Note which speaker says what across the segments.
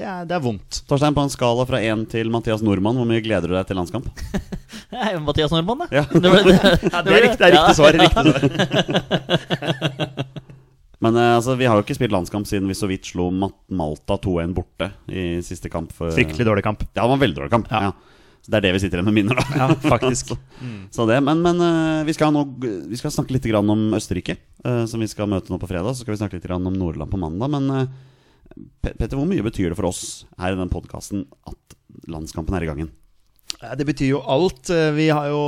Speaker 1: det, er, det er vondt.
Speaker 2: Torstein, på en skala fra 1 til Mathias Nordmann, hvor mye gleder du deg til landskamp?
Speaker 3: Det er jo Mathias Nordmann, det.
Speaker 2: Ja.
Speaker 3: Det, ble- det, ble- ja.
Speaker 2: Men eh, altså, vi har jo ikke spilt landskamp siden vi så vidt slo Mat- Malta 2-1 borte i siste kamp. For,
Speaker 1: Fryktelig dårlig kamp.
Speaker 2: Ja, det var en veldig dårlig kamp. Ja. Så det er det vi sitter igjen med minner, da.
Speaker 1: Ja, faktisk.
Speaker 2: Så det, men men eh, vi, skal nå, g- vi skal snakke litt grann om Østerrike, eh, som vi skal møte nå på fredag. Så skal vi snakke litt grann om Nordland på mandag. Men eh, Pe- Petter, hvor mye betyr det for oss her i den podkasten at landskampen er i gangen?
Speaker 1: Ja, Det betyr jo alt. Eh, Vi har jo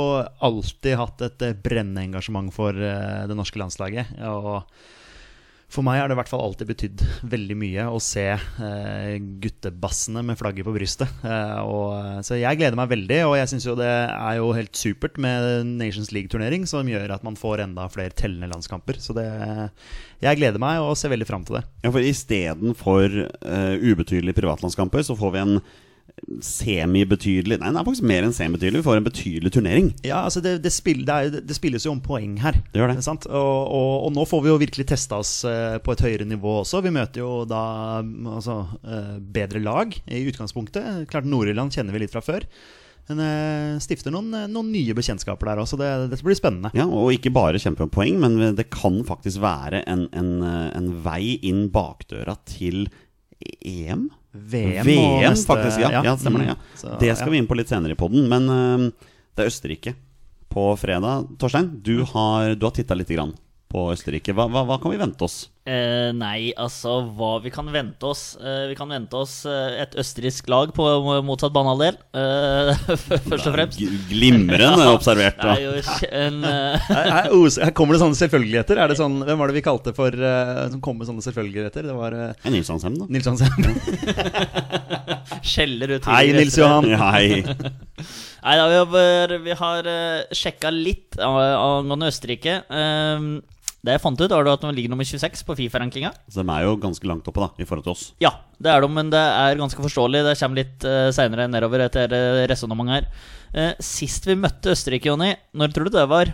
Speaker 1: alltid hatt et eh, brennende engasjement for eh, det norske landslaget. Og for meg har det i hvert fall alltid betydd veldig mye å se eh, guttebassene med flagget på brystet. Eh, og, eh, så jeg gleder meg veldig, og jeg syns jo det er jo helt supert med Nations League-turnering, som gjør at man får enda flere tellende landskamper. Så det, eh, jeg gleder meg og ser veldig fram til det.
Speaker 2: Ja, for Istedenfor uh, ubetydelige privatlandskamper, så får vi en semibetydelig Nei, det er faktisk mer enn semibetydelig. Vi får en betydelig turnering.
Speaker 1: Ja, altså det, det, spill, det, er, jo- det spilles jo om poeng her.
Speaker 2: Det gjør det.
Speaker 1: Ikke sant? Og, og, og nå får vi jo virkelig testa oss eh, på et høyere nivå også. Vi møter jo da mm, altså, eh, bedre lag i utgangspunktet. Klart Nord-Irland kjenner vi litt fra før. Men eh, stifter noen, noen nye bekjentskaper der også. Det, dette blir spennende.
Speaker 2: Ja, Og ikke bare kjempe om poeng, men det kan faktisk være en, en, eh, en vei inn bakdøra til E EM.
Speaker 1: VM, og
Speaker 2: VM,
Speaker 1: neste-
Speaker 2: faktisk. Ja, ja. stemmer det. Ja.
Speaker 1: Mm. Så,
Speaker 2: det skal
Speaker 1: ja.
Speaker 2: vi inn på litt senere i poden. Men eh, det er Østerrike på fredag. Torstein, du har, du har titta lite grann på Østerrike. Hva, hva, hva kan vi vente oss?
Speaker 3: Eh, nei, altså hva vi kan vente oss. Eh, vi kan vente oss eh, et østerriksk lag på motsatt banehalvdel, eh, først og fremst.
Speaker 2: G glimrende observert. Da.
Speaker 3: Det er jo ikke en eh,
Speaker 1: Her, her, os- her kommer det sånne selvfølgeligheter. Er det sånn, hvem var det vi kalte for eh, som kom med sånne selvfølgeligheter? Det var eh,
Speaker 2: En Nilsson-hemn, da.
Speaker 1: Nils Hansen.
Speaker 3: skjeller ut
Speaker 1: Hei,
Speaker 3: tidligere
Speaker 1: Nils
Speaker 3: etter det.
Speaker 1: Johan.
Speaker 2: Nei.
Speaker 3: Nei, da, vi har, vi har eh, sjekka litt av- angående Østerrike. Eh, det jeg fant ut, var da at de ligger nummer 26 på Fifa-rankinga.
Speaker 2: Så de er jo ganske langt oppe da, i forhold til oss.
Speaker 3: Ja, det er det, men det er ganske forståelig. Det kommer litt uh, seinere nedover etter uh, resonnementet her. Eh, sist vi møtte Østerrike, Jonny, når tror du det var?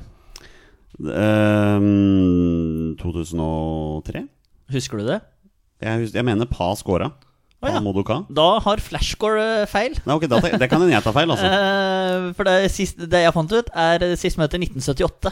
Speaker 2: Ehm, 2003?
Speaker 3: Husker du det?
Speaker 2: Jeg, hus- jeg mener Pa scora.
Speaker 3: Å,
Speaker 2: Pa
Speaker 3: ja.
Speaker 2: Modoka.
Speaker 3: Da har flashscore eh, feil.
Speaker 2: Nei, ok, da, tar- det kan hende jeg tar feil, altså.
Speaker 3: Eh, for det, siste, det jeg fant ut, er eh, sist møte i 1978.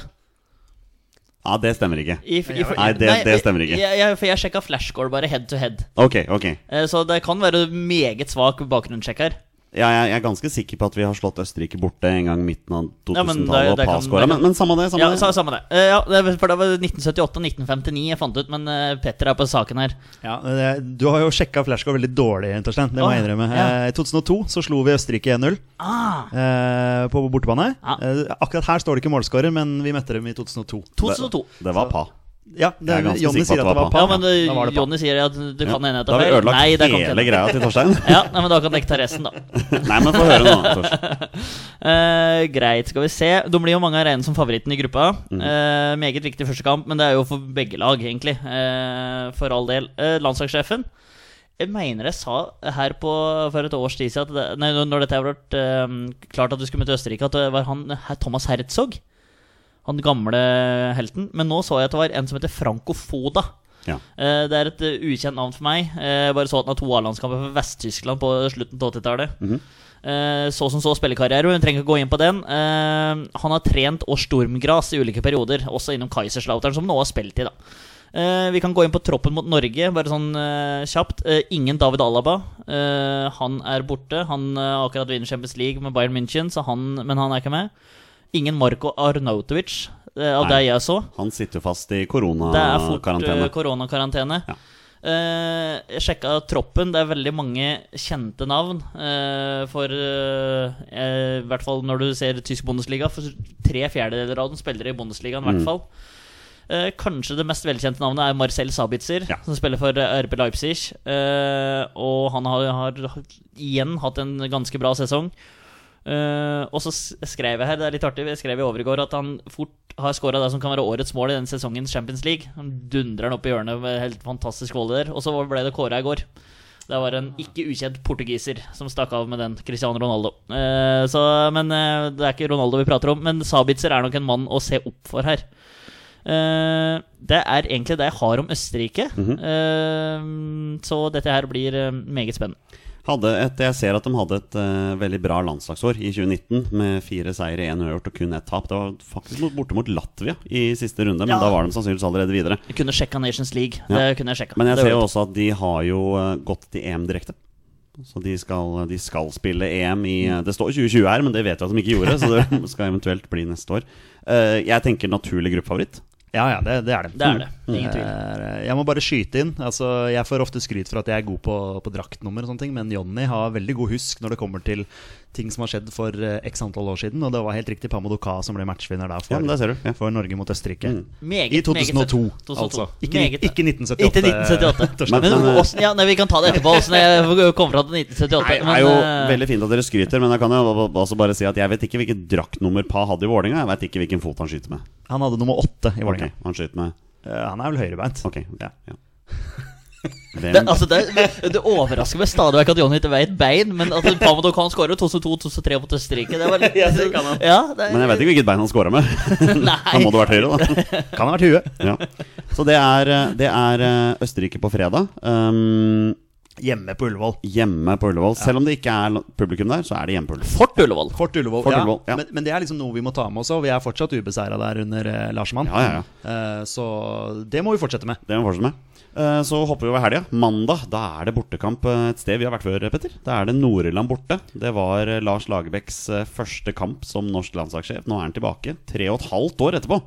Speaker 2: Ja, det stemmer ikke.
Speaker 3: I, i,
Speaker 2: Nei, det- det stemmer ikke.
Speaker 3: Jeg, jeg, for jeg sjekka flashscore bare head to head.
Speaker 2: Ok, ok.
Speaker 3: Eh, så det kan være meget svak bakgrunnssjekk her.
Speaker 2: Ja, jeg, jeg er ganske sikker på at vi har slått Østerrike borte en gang midten av
Speaker 3: Ja, men
Speaker 2: 2000-tallet,
Speaker 3: det-
Speaker 2: og
Speaker 3: det
Speaker 2: Pa
Speaker 3: kan-
Speaker 2: scora.
Speaker 3: det kan-
Speaker 2: Men, men samme det. Samme
Speaker 3: Ja,
Speaker 2: det.
Speaker 3: sa- samme det. Eh, ja, det er- for det var 1978 og 1959 jeg fant ut, men eh, Petter er på saken her.
Speaker 1: Ja, men det- Du har jo sjekka flashcore veldig dårlig, Torstein. Det må
Speaker 3: Åh,
Speaker 1: jeg innrømme.
Speaker 3: ja.
Speaker 1: Eh, I 2002 så slo vi Østerrike 1-0
Speaker 3: Ah,
Speaker 1: eh, på bortebane.
Speaker 3: Ja.
Speaker 1: Eh, akkurat her står det ikke målskårer, men vi møtte dem i 2002.
Speaker 3: 2002.
Speaker 2: Det var Pa.
Speaker 1: Ja,
Speaker 2: Jeg er
Speaker 1: det,
Speaker 2: ganske
Speaker 1: Jonny
Speaker 2: sikker
Speaker 1: sier
Speaker 2: på at
Speaker 1: at det var
Speaker 2: det var
Speaker 1: par.
Speaker 3: Ja, men eh,
Speaker 1: da var det par.
Speaker 3: Jonny sier at du kan hende jeg
Speaker 2: Da
Speaker 3: tar
Speaker 2: har vi
Speaker 3: feil.
Speaker 2: ødelagt
Speaker 3: Nei, det kan ikke
Speaker 2: hele
Speaker 3: hende.
Speaker 2: greia til Torstein.
Speaker 3: Ja, nei, men da kan jeg ikke ta resten, da.
Speaker 2: Nei, men få høre nå. da, Torstein.
Speaker 3: Eh, greit, skal vi se. De blir jo mange av regne som favoritten i gruppa. Eh, meget viktig første kamp, men det er jo for begge lag, egentlig. Eh, for all del. Eh, landslagssjefen jeg mener jeg sa her på, for et års tid siden, at det, nei, når dette har vært eh, klart at du skulle møte Østerrike, at det var han her, Thomas Herzog. Han gamle helten. Men nå så jeg at det var en som heter Franco Foda.
Speaker 2: Ja.
Speaker 3: Eh, Det er et eh, ukjent navn for meg. Eh, Jeg bare så at han har to A-landskamper for Vest-Tyskland på slutten av 80-tallet. Eh, Så som så spillekarriere, hun trenger ikke gå inn på den. Eh, Han har trent og Sturmgras i ulike perioder, også innom Kaiserslautern, som han nå har spilt i, da. Eh, Vi kan gå inn på troppen mot Norge, bare sånn eh, kjapt. Eh, Ingen David Alaba. Eh, Han er borte. Han eh, har akkurat vinner Champions League med Bayern München, så han, men han er ikke med. Ingen Marko Arnautovic, eh, av
Speaker 2: Nei.
Speaker 3: det jeg så.
Speaker 2: Han sitter jo fast i
Speaker 3: Det er fort eh,
Speaker 2: koronakarantene.
Speaker 3: koronakarantene.
Speaker 2: Ja.
Speaker 3: Eh, jeg sjekka troppen. Det er veldig mange kjente navn. eh, for eh, eh, I hvert fall når du ser tysk Bundesliga. For tre fjerdedeler av dem spiller i Bundesligaen,
Speaker 2: Mm.
Speaker 3: i hvert fall. Eh, kanskje det mest velkjente navnet er Marcel Sabitzer,
Speaker 2: Ja.
Speaker 3: som spiller for eh, RB Leipzig. Eh, og han har, har igjen hatt en ganske bra sesong. Eh, og så s- skrev jeg her, det er litt artig, jeg skrev i overgård at han fort har skåra det som kan være årets mål i denne sesongens Champions League. Han dundrer den opp i hjørnet med helt fantastisk goal der. Og så ble det kåra i går. Det var en ikke ukjent portugiser som stakk av med den. Cristiano Ronaldo. Eh, så, men eh, det er ikke Ronaldo vi prater om. Men Sabitzer er nok en mann å se opp for her. Eh, det er egentlig det jeg har om Østerrike.
Speaker 2: Mhm.
Speaker 3: Eh, så dette her blir eh, meget spennende.
Speaker 2: Hadde et, jeg ser at de hadde et eh, veldig bra landslagsår i 2019, med fire seire, én uavgjort og kun ett tap. Det var faktisk mot, borte mot Latvia i siste runde, men
Speaker 3: Ja.
Speaker 2: da var de sannsynligvis allerede videre.
Speaker 3: Jeg kunne sjekka Nations League.
Speaker 2: Ja.
Speaker 3: Det kunne jeg sjekket.
Speaker 2: Men jeg
Speaker 3: Det
Speaker 2: ser
Speaker 3: var-
Speaker 2: jo også at de har jo eh, gått til EM direkte. Så de skal, de skal spille EM i eh, Det står 2020 her, men det vet vi at de ikke gjorde. Så det skal eventuelt bli neste år. Eh, jeg tenker naturlig gruppefavoritt.
Speaker 1: Ja, ja, det, det er det.
Speaker 3: Det er det. Ingen tvil.
Speaker 1: Eh, Jeg må bare skyte inn. Altså, jeg får ofte skryt for at jeg er god på, på draktnummer, og sånne ting men Jonny har veldig god husk når det kommer til ting som har skjedd for eh, x antall år siden. Og det var helt riktig Pamodoka som ble matchvinner da
Speaker 2: Ja,
Speaker 1: for,
Speaker 2: men der ser Mm. du. Ja.
Speaker 1: for Norge mot Østerrike.
Speaker 3: Meget,
Speaker 1: I 2002,
Speaker 3: meget- 2002.
Speaker 1: altså. Ikke,
Speaker 3: Meget-
Speaker 1: ikke
Speaker 3: Ikke
Speaker 1: 1978.
Speaker 3: 1978.
Speaker 1: Torstein.
Speaker 3: Men
Speaker 2: Men-
Speaker 3: hvordan- ja, nei, Vi kan ta det etterpå, åssen jeg kom fra til 1978.
Speaker 2: Nei, det er jo
Speaker 3: eh,
Speaker 2: veldig fint at dere skryter, men jeg kan jo også bare si at jeg vet ikke hvilket draktnummer Pa hadde i Vålerenga. Jeg vet ikke hvilken fot han skyter med.
Speaker 1: Han hadde nummer åtte i
Speaker 2: Ok,
Speaker 1: Vålerenga.
Speaker 2: han skyter med
Speaker 1: Eh, Han er vel høyrebeint.
Speaker 2: Ok, ja, ja. Hvem,
Speaker 3: det, altså, det, det overrasker meg stadig vekk at Johnny ikke veit bein, men at Pamadokan skårer 2002-2003 mot Østerrike Det var litt
Speaker 1: Ja, det kan han.
Speaker 3: Ja, det,
Speaker 2: men jeg vet ikke hvilket bein han scora med. Da må
Speaker 3: Nei.
Speaker 2: det vært høyre, da.
Speaker 1: Kan ha vært huet.
Speaker 2: Ja. Så det er, eh, det er eh, Østerrike på fredag. Um,
Speaker 1: Hjemme på Ullevål.
Speaker 2: hjemme på Ullevål. Selv om det ikke er publikum der, så er det hjemme på Ullevål.
Speaker 3: Fort Ullevål.
Speaker 1: Fort Ullevål.
Speaker 2: Fort
Speaker 1: ja.
Speaker 2: Ullevål, ja.
Speaker 1: Men, men det er liksom noe vi må ta med oss. Og vi er fortsatt ubeseira der under eh, Larsemann.
Speaker 2: Ja, ja, ja.
Speaker 1: Eh, så det må vi fortsette med.
Speaker 2: Det må vi fortsette med. Eh, Så hopper vi over helga. Mandag da er det bortekamp eh, et sted vi har vært før. Petter Da er det Nord-Irland borte. Det var eh, Lars Lagerbäcks eh, første kamp som norsk landslagssjef. Nå er han tilbake tre og et halvt år etterpå.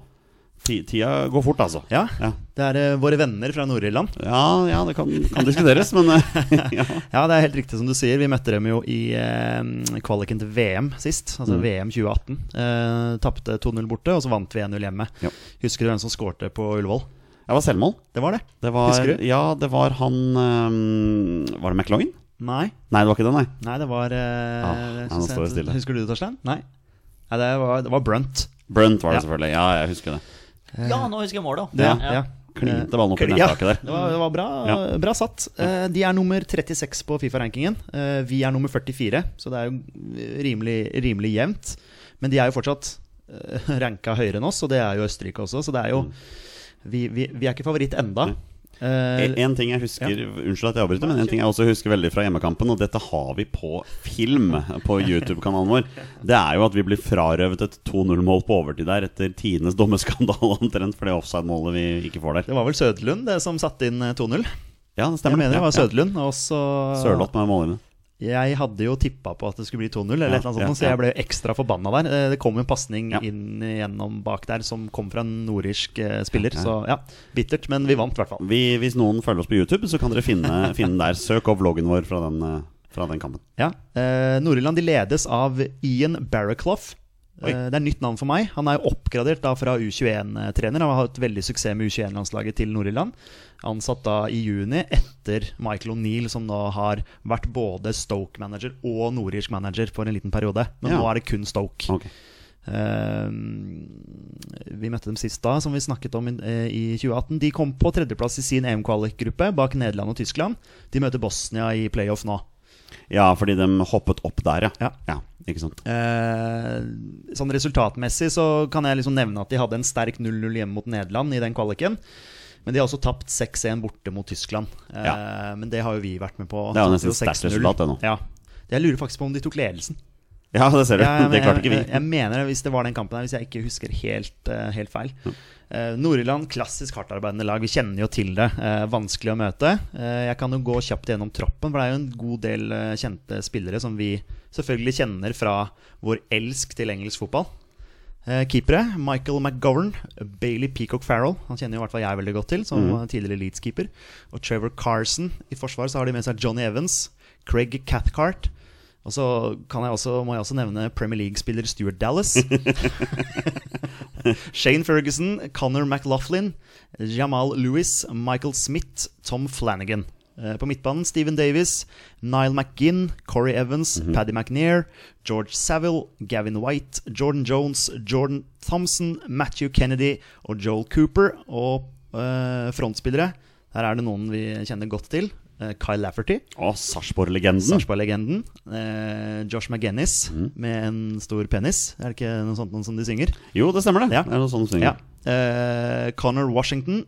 Speaker 2: Ti- Tida går fort, altså.
Speaker 1: Ja,
Speaker 2: Ja,
Speaker 1: Det er eh, våre venner fra Nord-Irland.
Speaker 2: ja, ja det kan, kan diskuteres, men eh, ja.
Speaker 1: Ja, det er helt riktig som du sier. Vi møtte dem jo i eh, kvaliken til VM sist, altså
Speaker 2: Mm.
Speaker 1: VM 2018. Eh, Tapte 2-0 borte, og så vant vi 1-0 hjemme.
Speaker 2: Ja.
Speaker 1: Husker du hvem som skårte på Ullevål?
Speaker 2: Det var selvmål.
Speaker 1: Det var det.
Speaker 2: Det var,
Speaker 1: Husker du?
Speaker 2: Ja, det var han eh, Var det McLaughlin?
Speaker 1: Nei,
Speaker 2: Nei, det var ikke det, nei.
Speaker 1: nei det var eh,
Speaker 2: Ah, nei, nå
Speaker 1: synes jeg-
Speaker 2: står det stille.
Speaker 1: Husker du det, Torstein? Nei. Nei, det var, det var Brunt.
Speaker 2: Brunt var det
Speaker 1: Ja.
Speaker 2: selvfølgelig. Ja, jeg husker det.
Speaker 3: Ja, nå husker jeg målet. også.
Speaker 2: Det- Ja.
Speaker 3: Ja.
Speaker 2: Klinte ballen opp i
Speaker 1: Kli- ja.
Speaker 2: nettaket der.
Speaker 1: Det var, det var bra,
Speaker 2: Ja.
Speaker 1: bra satt. Eh, De er nummer 36 på Fifa-rankingen. Eh, Vi er nummer 44, så det er jo rimelig, rimelig jevnt. Men de er jo fortsatt eh, ranka høyere enn oss, og det er jo Østerrike også, så det er jo
Speaker 2: Mm.
Speaker 1: Vi, vi, vi er ikke favoritt enda. Eh,
Speaker 2: En ting jeg husker Unnskyld at jeg avbryter, men en ting jeg også husker veldig fra hjemmekampen, og dette har vi på film på YouTube-kanalen vår, det er jo at vi blir frarøvet et 2-0-mål på overtid der etter tidenes dommeskandale omtrent for det offside-målet vi ikke får der.
Speaker 1: Det var vel Søderlund det som satte inn eh, 2-0.
Speaker 2: Ja, det
Speaker 1: Jeg
Speaker 2: stemmer.
Speaker 1: mener det var
Speaker 2: Ja,
Speaker 1: Søderlund. Og så
Speaker 2: ja. Sørloth med målene.
Speaker 1: Jeg hadde jo tippa på at det skulle bli 2-0, eller
Speaker 2: Ja,
Speaker 1: et eller annet
Speaker 2: ja,
Speaker 1: sånt, så
Speaker 2: ja.
Speaker 1: jeg ble jo ekstra forbanna der. Eh, Det kom jo en pasning
Speaker 2: Ja.
Speaker 1: inn gjennom bak der som kom fra en nordirsk eh, spiller,
Speaker 2: Ja.
Speaker 1: så ja, bittert. Men vi vant i hvert fall.
Speaker 2: Vi, hvis noen følger oss på YouTube, så kan dere finne, finne der. Søk opp vloggen vår fra den, eh, fra den kampen.
Speaker 1: Ja. Eh, Nord-Irland de ledes av Ian Barraclough.
Speaker 2: Oi.
Speaker 1: Eh, det er nytt navn for meg. Han er jo oppgradert da fra U21-trener. Han har hatt veldig suksess med U21-landslaget til Nord-Irland. Ansatt da i juni etter Michael O'Neill, som nå har vært både Stoke-manager og nordirsk manager for en liten periode. Men
Speaker 2: Ja.
Speaker 1: nå er det kun Stoke.
Speaker 2: Ok.
Speaker 1: Eh, vi møtte dem sist da, som vi snakket om i, eh, i 2018. De kom på tredjeplass i sin EM-kvalikgruppe, bak Nederland og Tyskland. De møter Bosnia i playoff nå.
Speaker 2: Ja, fordi de hoppet opp der, ja.
Speaker 1: Ja.
Speaker 2: ja ikke sant.
Speaker 1: Eh, sånn resultatmessig så kan jeg liksom nevne at de hadde en sterk 0-0 hjemme mot Nederland i den kvaliken. Men de har også tapt 6-1 borte mot Tyskland. Eh,
Speaker 2: Ja.
Speaker 1: Men det har jo vi vært med på.
Speaker 2: Det er jo
Speaker 1: Tapte
Speaker 2: nesten sterkt
Speaker 1: 6-0.
Speaker 2: resultat, det nå.
Speaker 1: Ja. Jeg lurer faktisk på om de tok ledelsen.
Speaker 2: Ja, det ser du.
Speaker 1: Ja, men
Speaker 2: det klarte ikke
Speaker 1: jeg,
Speaker 2: vi.
Speaker 1: Jeg, jeg mener det, hvis det var den kampen her, hvis jeg ikke husker helt, eh, helt feil. Eh, Nord-Irland, klassisk hardtarbeidende lag. Vi kjenner jo til det. Eh, vanskelig å møte. Eh, jeg kan jo gå kjapt gjennom troppen, for det er jo en god del eh, kjente spillere som vi selvfølgelig kjenner fra vår elsk til engelsk fotball. Eh, keepere Michael McGovern, Bailey Peacock Farrell Han kjenner jo i hvert fall jeg veldig godt til, som
Speaker 2: Mhm.
Speaker 1: eh, tidligere Leeds-keeper. Og Trevor Carson. I forsvaret så har de med seg Johnny Evans, Craig Cathcart. Og så kan jeg også, må jeg også nevne Premier League-spiller Stuart Dallas. Shane Ferguson, Connor McLaughlin, Jamal Lewis, Michael Smith, Tom Flanagan. Eh, På midtbanen Stephen Davis, Nile McGinn, Corey Evans, Paddy McNair, George Saville, Gavin White, Jordan Jones, Jordan Thompson, Matthew Kennedy og Joel Cooper. Og eh, frontspillere Her er det noen vi kjenner godt til. Eh, Kyle Lafferty.
Speaker 2: Å, Sarpsborg-legenden.
Speaker 1: Sarpsborg-legenden. Eh, Josh McGinnis med en stor penis. Er det ikke noe sånt noen som de synger?
Speaker 2: Jo, det stemmer det.
Speaker 1: Ja.
Speaker 2: Det er noe sånn du synger.
Speaker 1: Ja. Eh, Connor Washington,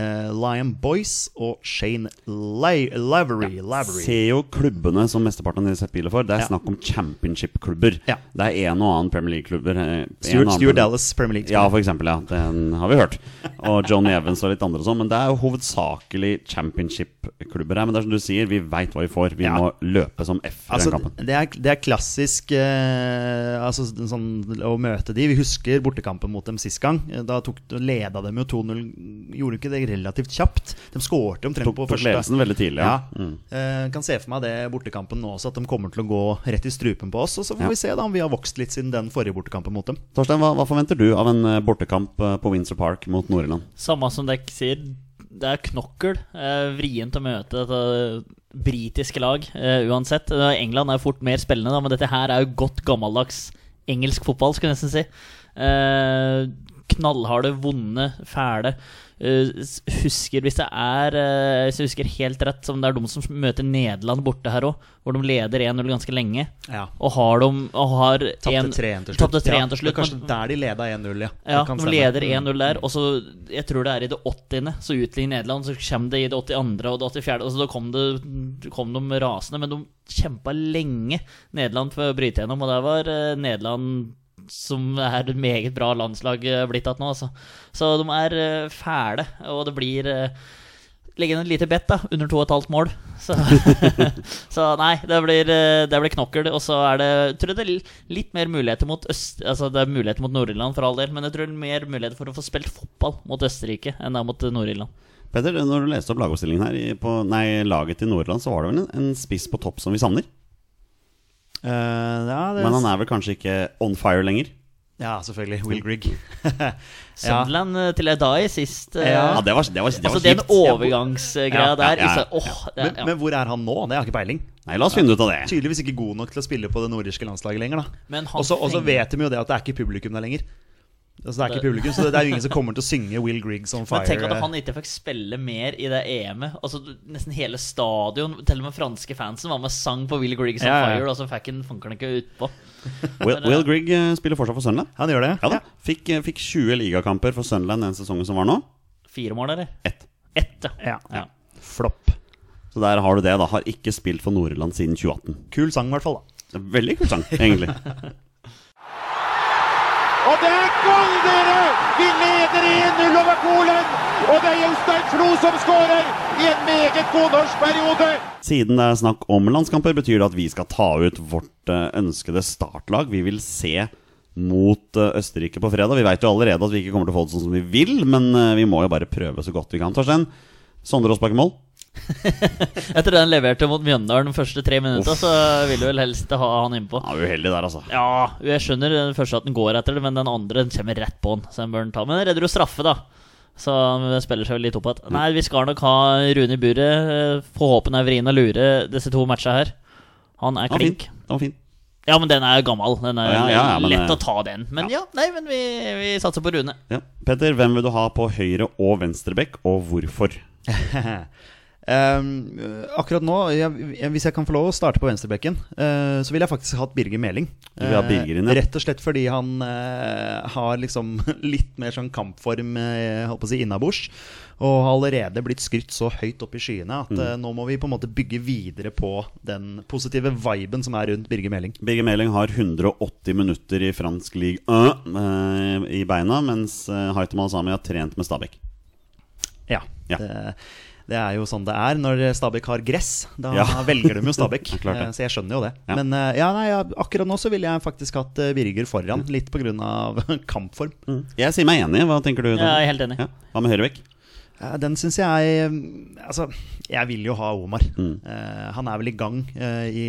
Speaker 1: eh, Liam Boyce og Shane La- Lavery. Lavery.
Speaker 2: Ser jo klubbene som mesteparten av de setter biler for. Det er
Speaker 1: Ja.
Speaker 2: snakk om championship-klubber.
Speaker 1: Ja.
Speaker 2: Det er en og annen Premier League-klubber. eh, en og
Speaker 1: Stuart,
Speaker 2: annen
Speaker 1: Stuart
Speaker 2: Premier-
Speaker 1: Dallas, Premier League.
Speaker 2: Ja, for eksempel, ja. Den har vi hørt. Og John Evans og litt andre og sånn. Men det er jo hovedsakelig championship-klubber her. Men det er som du sier, vi veit hva vi får. Vi
Speaker 1: Ja.
Speaker 2: må løpe som F i
Speaker 1: Altså,
Speaker 2: den kampen.
Speaker 1: det, er, det er klassisk eh, altså, den sånn, å møte de. Vi husker bortekampen mot dem sist gang. Eh, Da tok, leda dem jo 2-0. Gjorde ikke det relativt kjapt? De skårte omtrent
Speaker 2: Tok,
Speaker 1: på
Speaker 2: tok
Speaker 1: første
Speaker 2: ledelsen veldig tidlig, ja.
Speaker 1: Ja. Eh, kan se for meg det bortekampen nå også, at de kommer til å gå rett i strupen på oss. Og så får
Speaker 2: Ja.
Speaker 1: vi se da om vi har vokst litt siden den forrige bortekampen mot dem.
Speaker 2: Torstein, hva, hva forventer du av en eh, bortekamp eh, på Windsor Park mot Nord-Irland?
Speaker 3: Samme som dere sier, det er knokkel. Eh, vrient å møte dette britiske lag eh, uansett. Eh, England er jo fort mer spillende, da, men dette her er jo godt gammeldags engelsk fotball, skulle jeg nesten si. Eh, knallharde, vonde, fæle. Eh, s- husker, hvis det er eh, Hvis jeg husker helt rett, som det er de som møter Nederland borte her òg, hvor de leder 1-0 ganske lenge.
Speaker 1: Ja.
Speaker 3: Og har de og har en-
Speaker 1: Tapte 3-1 til slutt.
Speaker 3: Tapte 3-1 til
Speaker 1: Ja, det
Speaker 3: slutt
Speaker 1: er kanskje
Speaker 3: men-
Speaker 1: der de leda 1-0, ja.
Speaker 3: ja,
Speaker 1: Det kan
Speaker 3: de
Speaker 1: stemme. Mm.
Speaker 3: leder 1-0 der, og så Jeg tror det er i det 80. Så utligner Nederland, så kommer det i det 82. og det 84. Og så da kom, det, kom de rasende, men de kjempa lenge Nederland for å bryte gjennom, og der var eh, Nederland som er et meget bra landslag eh, blitt at nå, altså. Så de er eh, fæle, og det blir eh, Legge inn et lite bett, da. Under 2,5 mål. Så, så nei, det blir, eh, det blir knokkel. Og så er det jeg tror det er litt mer muligheter mot Øst... Altså det er muligheter mot Nord-Irland for all del, men jeg tror det er mer muligheter for å få spilt fotball mot Østerrike enn det er mot eh, Nord-Irland.
Speaker 2: Petter, når du leste opp lagoppstillingen her, i- på, nei, laget til Nord-Irland, så var det vel en, en spiss på topp som vi savner?
Speaker 1: Eh, ja, det,
Speaker 2: Men han er Mm. vel kanskje ikke on fire lenger?
Speaker 1: ja, selvfølgelig. Will Grigg.
Speaker 3: Sunderland eh, til Edai sist. eh,
Speaker 1: Ja.
Speaker 2: Ja, det var, det var, det var
Speaker 3: altså den
Speaker 2: kjipt.
Speaker 3: overgangsgreia
Speaker 2: Ja, ja,
Speaker 3: der.
Speaker 2: ja, ja.
Speaker 3: Isa- Åh, det,
Speaker 1: Men,
Speaker 3: er- ja.
Speaker 1: men hvor er han nå? Det har jeg ikke peiling.
Speaker 2: Nei, la oss finne ut av det.
Speaker 1: Tydeligvis ikke god nok til å spille på det nordirske landslaget lenger, da.
Speaker 3: Men han
Speaker 1: Og så og så
Speaker 3: trenger-
Speaker 1: vet de jo det at det er ikke publikum der lenger. Altså, det er ikke publikum, så det, det er jo ingen som kommer til å synge Will Grigg som fire.
Speaker 3: Men tenk at
Speaker 1: eh,
Speaker 3: han ikke fikk spille mer i det EM-et. Altså, du- nesten hele stadion, til og med franske fansen, var med og sang på Will Griggs on
Speaker 1: Ja, ja, ja.
Speaker 3: Fire, og så fikk han fankeren ikke utpå.
Speaker 2: Will, Will Grigg eh, spiller fortsatt for Sunderland.
Speaker 1: Han gjør det?
Speaker 2: Ja da. Fikk, eh, fikk 20 ligakamper for Sunderland den sesongen som var nå.
Speaker 3: Fire mål, eller?
Speaker 2: Ett.
Speaker 3: Ett,
Speaker 1: Ja.
Speaker 3: ja.
Speaker 1: Flopp.
Speaker 2: Så der har du det, da. Har ikke spilt for Nord-Irland siden 2018.
Speaker 1: Kul sang, i hvert fall. da
Speaker 2: Det er Veldig kul sang, egentlig.
Speaker 4: Og det er gull, dere! Vi leder 1-0 over Polen! Og det er Jostein Flo som skårer i en meget god norsk periode!
Speaker 2: Siden det er snakk om landskamper, betyr det at vi skal ta ut vårt eh, ønskede startlag. Vi vil se mot eh, Østerrike på fredag. Vi veit jo allerede at vi ikke kommer til å få det sånn som vi vil, men eh, vi må jo bare prøve så godt vi kan, Torstein. Sondre Aasbakke Moll.
Speaker 3: Etter den leverte mot Mjøndalen de første tre minutter, så vil du vel helst ha han innpå.
Speaker 2: Ja, uheldig der, altså.
Speaker 3: Ja, jeg skjønner den første at den går etter det, men den andre den kommer rett på han. Så den bør den ta. Men den redder jo straffe, da. Så det spiller seg jo litt opp igjen. Nei, vi skal nok ha Rune i buret. Eh, Får håpe den er vrien og lure disse to matcha her. Han er
Speaker 2: Den var fin.
Speaker 3: klink.
Speaker 2: Den var fin.
Speaker 3: Ja, men den er jo gammel. Den er
Speaker 2: Ja, ja, ja, men,
Speaker 3: lett
Speaker 2: eh,
Speaker 3: å ta den. Men ja, nei, men vi, vi satser på Rune.
Speaker 2: Ja. Petter, hvem vil du ha på høyre og venstre bekk, og hvorfor?
Speaker 1: Ehm, akkurat nå, jeg, jeg, hvis jeg kan få lov å starte på venstrebekken, eh, så ville jeg faktisk hatt Birger Meling.
Speaker 2: Du vil ha
Speaker 1: Eh,
Speaker 2: Birger inn, ja.
Speaker 1: Rett og slett fordi han eh, har liksom litt mer sånn kampform eh, holdt på å si innabords. Og har allerede blitt skrytt så høyt opp i skyene
Speaker 2: Mm.
Speaker 1: at eh, nå må vi på en måte bygge videre på den positive viben som er rundt Birger Meling.
Speaker 2: Birger Meling har 180 minutter i fransk league 1 eh, i beina, mens eh, Haitham Al-Sami har trent med Stabæk.
Speaker 1: Ja.
Speaker 2: Ja.
Speaker 1: Det, Det er jo sånn det er når Stabæk har gress. Da
Speaker 2: Ja.
Speaker 1: velger de jo Stabæk.
Speaker 2: Ja, klart det.
Speaker 1: Eh, så jeg skjønner jo det.
Speaker 2: Ja.
Speaker 1: Men eh, ja, nei, ja, akkurat nå så ville jeg faktisk hatt eh, Birger foran,
Speaker 2: Mm.
Speaker 1: litt pga. kampform.
Speaker 2: Jeg sier meg enig. Hva tenker du? Tom?
Speaker 3: Mm. Jeg er helt enig.
Speaker 2: Ja. Hva med Høyrebekk?
Speaker 1: Eh, Den syns jeg eh, Altså, jeg vil jo ha Omar.
Speaker 2: Mm.
Speaker 1: Eh, han er vel i gang eh, i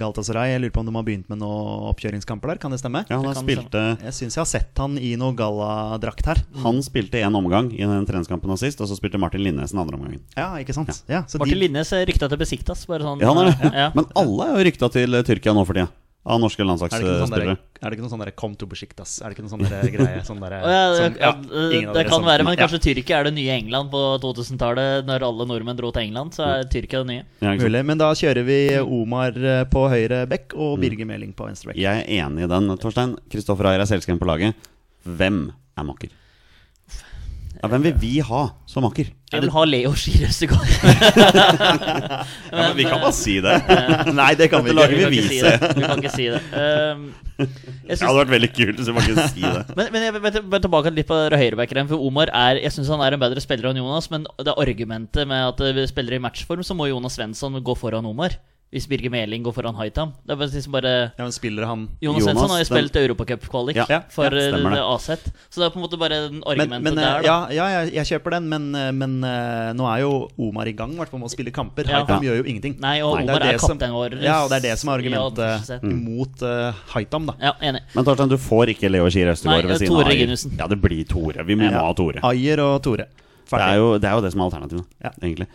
Speaker 1: Galatasaray. Jeg lurer på om de har begynt med noen oppkjøringskamper der, kan det stemme?
Speaker 2: Ja, han
Speaker 3: kan
Speaker 2: spilte
Speaker 1: Jeg syns jeg har sett han i noe galladrakt her.
Speaker 2: Han spilte én omgang i den treningskampen sist, og så spilte Martin Linnes den andre omgangen.
Speaker 1: Ja, ikke sant? Ja, så
Speaker 3: Martin
Speaker 1: de,
Speaker 3: Linnes er rykta til Besiktas. Bare sånn,
Speaker 2: Ja, han er det.
Speaker 3: ja.
Speaker 2: Men alle er jo rykta til Tyrkia nå for tida, av norske
Speaker 1: er det, ikke noe sånn der,
Speaker 2: landslagsspillere.
Speaker 1: er det ikke noe sånn der 'kom to besjiktas'? Er det ikke noe sånn der greie? Sånn der,
Speaker 3: Å, ja,
Speaker 1: som-
Speaker 3: ja, det,
Speaker 1: ingen
Speaker 3: det
Speaker 1: av dere
Speaker 3: kan
Speaker 1: som-
Speaker 3: være, men
Speaker 1: Ja.
Speaker 3: kanskje Tyrkia er det nye England på 2000-tallet. Når alle nordmenn dro til England, så
Speaker 1: Mm.
Speaker 3: er Tyrkia det nye.
Speaker 2: Ja, ikke sant?
Speaker 1: Mulig, men da kjører vi Omar eh, på høyre bekk og Birger Meling på venstre bekk.
Speaker 2: Jeg er enig i den, Torstein. Kristoffer Ayer er selvskreven på laget. Hvem er makker? Ja, hvem vil vi ha som makker?
Speaker 3: Jeg vil ha Leo Skier Østegård.
Speaker 2: vi kan bare si det.
Speaker 1: Nei, det kan vi
Speaker 2: Dette lager
Speaker 1: ikke.
Speaker 3: Eh, kan ikke si det. Vi kan ikke si det. Ehm, jeg
Speaker 2: Det
Speaker 3: synes,
Speaker 2: hadde vært veldig kult hvis vi bare kunne si det.
Speaker 3: men, men jeg vil vil- vil tilbake litt på høyrebackeren. For Omar er Jeg syns han er en bedre spiller enn Jonas, men det argumentet med at eh, vi spiller i matchform, så må Jonas Svensson gå foran Omar. Hvis Birger Meling går foran Haitam. Det er bare, liksom bare
Speaker 1: Ja, men spiller han
Speaker 3: Jonas
Speaker 2: Jonas,
Speaker 3: Svensson har jo
Speaker 2: den-
Speaker 3: spilt Europacup-kvalik
Speaker 2: Ja, ja,
Speaker 3: for eh,
Speaker 2: stemmer det.
Speaker 3: AZ. Så det er på en måte bare den
Speaker 1: men,
Speaker 3: argumentet
Speaker 1: men, eh,
Speaker 3: der. Da.
Speaker 1: ja, ja, jeg, jeg kjøper den, men, eh, men eh, nå er jo Omar i gang i hvert fall med å spille kamper.
Speaker 3: Ja.
Speaker 1: Haitam
Speaker 2: Ja.
Speaker 1: gjør jo ingenting.
Speaker 3: Nei, og
Speaker 1: Det
Speaker 3: Omar
Speaker 1: det
Speaker 3: er
Speaker 1: som-
Speaker 3: kapteinen vår.
Speaker 1: Ja, og det er det som er
Speaker 3: Ja,
Speaker 1: argumentet
Speaker 3: sett.
Speaker 1: mot eh, Haitam, da.
Speaker 3: Ja, enig.
Speaker 2: Men Torstein, du får ikke Leo Skier Østegård
Speaker 3: Nei,
Speaker 1: eh,
Speaker 2: ved siden
Speaker 3: Tore
Speaker 2: av Ayer.
Speaker 3: Reginussen.
Speaker 2: Ja, det blir Tore. Vi må ha Tore.
Speaker 1: Ayer og Tore.
Speaker 2: Det er, jo, det er jo det som er alternativet,
Speaker 1: Ja.
Speaker 2: egentlig.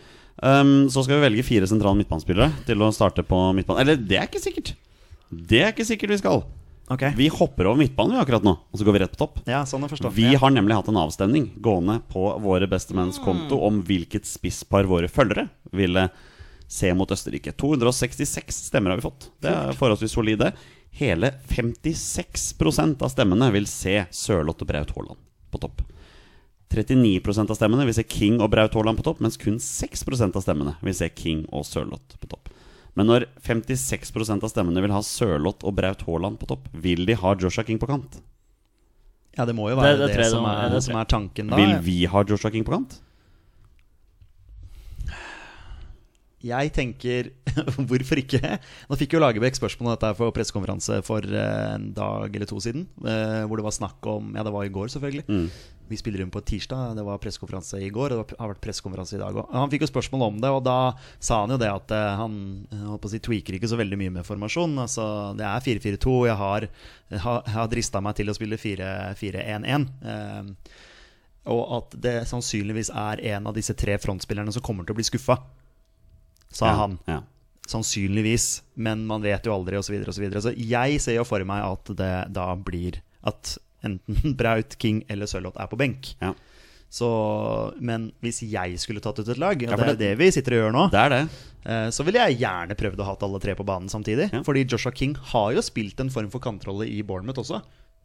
Speaker 2: Ehm, så skal vi velge fire sentrale midtbanespillere til å starte på midtbanen. Eller det er ikke sikkert! Det er ikke sikkert vi skal.
Speaker 1: Ok.
Speaker 2: Vi hopper over midtbanen vi akkurat nå, og så går vi rett på topp.
Speaker 1: Ja, sånn å forstå.
Speaker 2: Vi
Speaker 1: ja.
Speaker 2: har nemlig hatt en avstemning gående på våre bestemenns konto om hvilket spisspar våre følgere ville se mot Østerrike. 266 stemmer har vi fått. Det er forholdsvis solide. Hele 56 av stemmene vil se Sørloth og Braut Haaland på topp. 39 av stemmene vil se King og Braut Haaland på topp, mens kun 6 av stemmene vil se King og Sørloth på topp. Men når 56 av stemmene vil ha Sørloth og Braut Haaland på topp, vil de ha Joshua King på kant?
Speaker 1: ja, det må jo være
Speaker 3: Det- det
Speaker 1: det,
Speaker 3: tror jeg det
Speaker 1: som,
Speaker 3: må-
Speaker 1: er,
Speaker 3: det tror
Speaker 1: som er tanken da.
Speaker 2: Vil vi ha Joshua King på kant?
Speaker 1: Jeg tenker hvorfor ikke? Nå fikk jo Lagerbäck spørsmål om dette her for pressekonferanse for eh, en dag eller to siden. eh, Hvor det var snakk om Ja, det var i går, selvfølgelig. Vi spiller inn på tirsdag. Det var pressekonferanse i går, og det har vært pressekonferanse i dag òg. Han fikk jo spørsmål om det, og da sa han jo det at eh, han eh, holdt på å si, tweaker ikke så veldig mye med formasjon. Altså, det er 4-4-2. Jeg har, jeg har- jeg har drista meg til å spille 4-4-1-1. eh, Og at det sannsynligvis er en av disse tre frontspillerne som kommer til å bli skuffa, sa
Speaker 2: Ja,
Speaker 1: han.
Speaker 2: Ja.
Speaker 1: Sannsynligvis, men man vet jo aldri, osv. Så, videre, og så, videre. så jeg ser jo for meg at det da blir at enten Braut, King eller Sørloth er på benk.
Speaker 2: ja.
Speaker 1: Så, men hvis jeg skulle tatt ut et lag, og
Speaker 2: for
Speaker 1: det er jo
Speaker 2: det-
Speaker 1: det vi sitter og gjør nå,
Speaker 2: Det er det.
Speaker 1: eh, så ville jeg gjerne prøvd å ha alle tre på banen samtidig.
Speaker 2: Ja.
Speaker 1: Fordi Joshua King har jo spilt en form for kantrolle i Bournemouth også.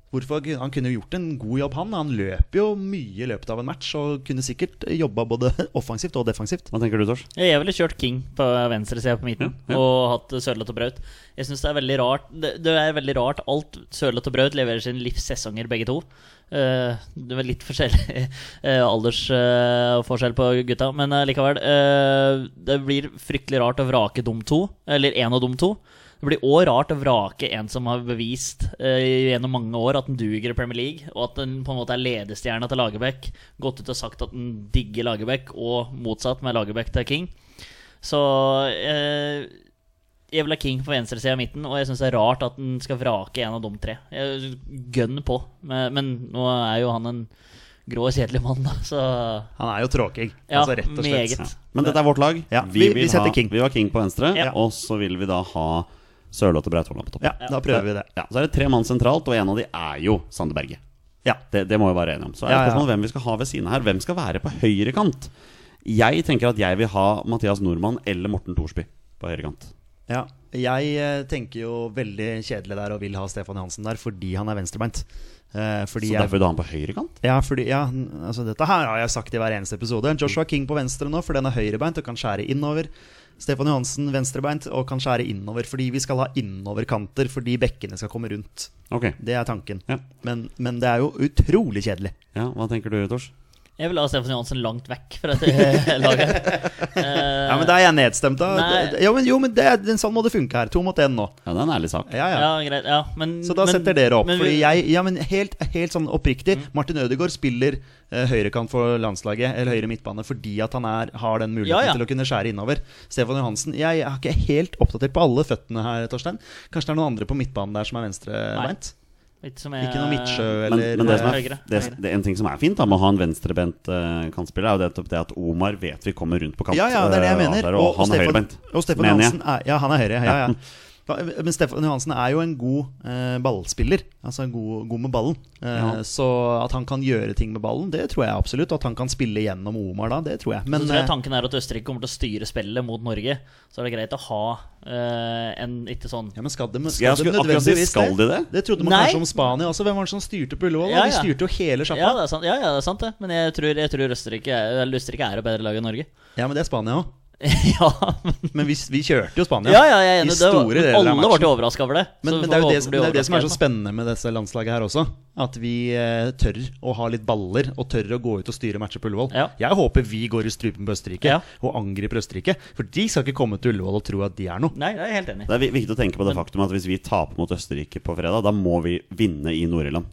Speaker 1: Hvorfor, kunne- han kunne jo gjort en god jobb, han. Han løper jo mye i løpet av en match og kunne sikkert jobba både offensivt og defensivt.
Speaker 2: Hva tenker du, Tors?
Speaker 3: Ja, Jeg ville kjørt King på venstresida på midten
Speaker 2: Ja, ja.
Speaker 3: og hatt Sørloth og Braut. Jeg synes Det er veldig rart Det, det er veldig rart alt Sørloth og Braut leverer sine livssesonger, begge to. Eh, det var litt forskjellig eh, aldersforskjell på gutta, men eh, likevel. eh, det blir fryktelig rart å vrake dum to, eller én av dum to. Det blir òg rart å vrake en som har bevist eh, gjennom mange år at den duger i Premier League, og at den på en måte er ledestjerna til Lagerbäck. Gått ut og sagt at den digger Lagerbäck, og motsatt med Lagerbäck til King. Så eh, jeg vil ha King på venstresida av midten, og jeg syns det er rart at han skal vrake en av de tre. Jeg Gønn på. Men, men nå er jo han en grå og kjedelig mann, da, så
Speaker 1: Han er jo tråking,
Speaker 3: Ja,
Speaker 1: altså rett og slett.
Speaker 3: meget.
Speaker 2: Ja. Men dette er vårt lag.
Speaker 1: Ja, vi- vi
Speaker 2: vil
Speaker 1: setter
Speaker 2: ha,
Speaker 1: King.
Speaker 2: Vi har King på venstre,
Speaker 3: Ja.
Speaker 2: og så vil vi da ha Sørloth og Braut Haaland på topp.
Speaker 1: Ja, da prøver vi det.
Speaker 2: Ja, så er det tre mann sentralt, og en av de er jo Sander Berge.
Speaker 1: Ja.
Speaker 2: Det, det må vi være enige om. Så er det
Speaker 1: Ja, ja.
Speaker 2: spørsmålet hvem vi skal ha ved siden av her. Hvem skal være på høyre kant? Jeg tenker at jeg vil ha Mathias Nordmann eller Morten Thorsby på høyre kant.
Speaker 1: ja. Jeg eh, tenker jo veldig kjedelig der og vil ha Stefan Johansen der fordi han er venstrebeint. Eh, fordi
Speaker 2: Så
Speaker 1: jeg,
Speaker 2: derfor vil du ha han på høyre kant?
Speaker 1: ja, fordi, ja, n- altså dette her har jeg sagt i hver eneste episode. Joshua King på venstre nå, for den er høyrebeint og kan skjære innover. Stefan Johansen venstrebeint og kan skjære innover fordi vi skal ha innoverkanter fordi bekkene skal komme rundt.
Speaker 2: Ok.
Speaker 1: Det er tanken.
Speaker 2: Ja.
Speaker 1: Men, men det er jo utrolig kjedelig.
Speaker 2: ja, Hva tenker du, Tors?
Speaker 3: Jeg vil ha Stefan Johansen langt vekk fra dette laget. Eh,
Speaker 1: Ja, men Der er jeg nedstemt, da.
Speaker 3: Nei.
Speaker 1: Jo, men, jo, men det, er- sånn må det funke her. To mot én nå.
Speaker 2: Ja, det er en ærlig sak.
Speaker 1: Ja, ja.
Speaker 3: ja, greit. Ja, men,
Speaker 1: Så da
Speaker 3: men-
Speaker 1: setter dere opp.
Speaker 3: men vi- Mm.
Speaker 1: Fordi jeg, ja, men helt, helt sånn oppriktig, Martin Ødegaard spiller eh, høyrekant for landslaget, eller høyre midtbane, fordi at han er, har den muligheten
Speaker 3: Ja, ja.
Speaker 1: til å kunne skjære innover. Stefan Johansen Jeg er ikke helt oppdatert på alle føttene her, Torstein. Kanskje det er noen andre på midtbanen der som er venstrebeint?
Speaker 3: Ikke, som jeg-
Speaker 1: Ikke noe Midtsjø
Speaker 3: Eh,
Speaker 2: Men,
Speaker 1: eller
Speaker 2: men det som er,
Speaker 3: Høyre,
Speaker 2: det,
Speaker 3: høyre.
Speaker 2: det, en ting som er fint da med å ha en venstrebent eh, kantspiller, er jo nettopp det at Omar vet vi kommer rundt på kant.
Speaker 1: Ja, ja, det er det jeg
Speaker 2: eh,
Speaker 1: mener.
Speaker 2: der, og, han er høyrebeint.
Speaker 1: og Stefan
Speaker 2: mener jeg.
Speaker 1: Johansen er, Ja, han er høyre. Ja, ja. Ja, Men Stefan Johansen er jo en god eh, ballspiller. Altså en god, god med ballen. Eh,
Speaker 2: Ja.
Speaker 1: Så at han kan gjøre ting med ballen, det tror jeg absolutt. Og at han kan spille gjennom Omar da, det tror jeg. Men
Speaker 3: så tror jeg
Speaker 1: eh,
Speaker 3: tanken er at Østerrike kommer til å styre spillet mot Norge. Så er det greit å ha eh, en ikke sånn
Speaker 1: ja, men skal de,
Speaker 2: jeg
Speaker 1: skal de
Speaker 2: skulle akkurat si,
Speaker 1: nødvendigvis
Speaker 2: skal de det?
Speaker 1: Det trodde man
Speaker 3: Nei.
Speaker 1: kanskje om Spania også. Hvem var det som styrte på Ullevål? da?
Speaker 3: Ja,
Speaker 1: De
Speaker 3: ja.
Speaker 1: styrte jo hele
Speaker 3: ja,
Speaker 1: sjappa.
Speaker 3: det er sant, ja, ja, det er sant det. Men jeg tror, jeg tror Østerrike, er, eller Østerrike er et bedre lag enn Norge.
Speaker 1: Ja, men det er Spania òg.
Speaker 3: ja, men
Speaker 1: Men vi, vi kjørte jo Spania.
Speaker 3: ja, ja, jeg er enig.
Speaker 1: I
Speaker 3: Det var,
Speaker 1: store deler av
Speaker 3: alle
Speaker 1: matchen.
Speaker 3: ble overraska over det.
Speaker 1: Men,
Speaker 3: så
Speaker 1: men det er jo
Speaker 3: vi
Speaker 1: det,
Speaker 3: får
Speaker 1: som-
Speaker 3: håpe
Speaker 1: det,
Speaker 3: de
Speaker 1: er jo det som er så
Speaker 3: overrasker
Speaker 1: spennende med disse landslaget her også. At vi eh, tør å ha litt baller, og tør å gå ut og styre matcher på Ullevål.
Speaker 3: Ja.
Speaker 1: Jeg håper vi går i strupen på Østerrike
Speaker 3: Ja.
Speaker 1: og angriper Østerrike. For de skal ikke komme til Ullevål og tro at de er noe.
Speaker 3: Nei, jeg er helt enig.
Speaker 2: Det er vi- viktig å tenke på det faktum at hvis vi taper mot Østerrike på fredag, da må vi vinne i Nord-Irland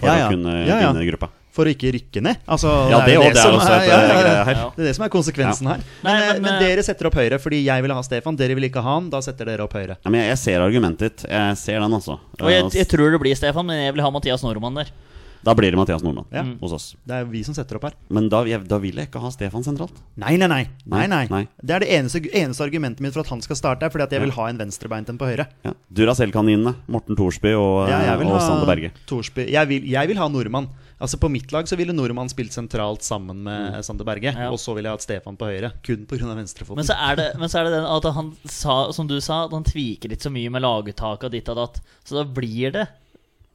Speaker 2: for
Speaker 1: Ja, ja.
Speaker 2: å kunne
Speaker 1: Ja, ja.
Speaker 2: vinne gruppa.
Speaker 1: For å ikke rykke ned. Altså,
Speaker 2: Ja, det,
Speaker 1: jo
Speaker 2: og, det er
Speaker 1: som
Speaker 2: også et eh,
Speaker 1: ja, ja, ja.
Speaker 2: greie her.
Speaker 3: Ja.
Speaker 1: Det er det som er konsekvensen her. Men,
Speaker 3: Nei,
Speaker 1: eh,
Speaker 3: men,
Speaker 1: men
Speaker 3: eh,
Speaker 1: dere setter opp høyre fordi jeg ville ha Stefan. Dere vil ikke ha han. Da setter dere opp høyre.
Speaker 2: Ja, men jeg, jeg ser argumentet ditt. Jeg ser den, altså.
Speaker 3: Og jeg,
Speaker 2: Eh,
Speaker 3: jeg tror det blir Stefan, men jeg vil ha Mathias Normann der.
Speaker 2: Da blir det Mathias Nordmann
Speaker 1: Ja.
Speaker 2: hos oss.
Speaker 1: Det er jo vi som setter opp her.
Speaker 2: Men da, jeg, da vil jeg ikke ha Stefan sentralt.
Speaker 1: Nei, nei, nei. nei,
Speaker 2: Nei,
Speaker 1: nei.
Speaker 2: nei.
Speaker 1: Det er det eneste, eneste argumentet mitt for at han skal starte, er fordi at jeg vil ha en venstrebeint en på høyre.
Speaker 2: Ja. Duracell-kaninene. Morten Thorsby og,
Speaker 1: Ja, jeg vil
Speaker 2: og
Speaker 1: ha
Speaker 2: Sander Berge.
Speaker 1: Thorsby. Jeg vil, jeg vil ha nordmann. Altså På mitt lag så ville nordmann spilt sentralt sammen med Sander Berge.
Speaker 3: Ja.
Speaker 1: Og så ville jeg hatt Stefan på høyre, kun pga. venstrefoten.
Speaker 3: Men så er det, men så er det den at han sa, som du sa, at han tviker litt så mye med laguttaket og ditt og datt. Så da blir det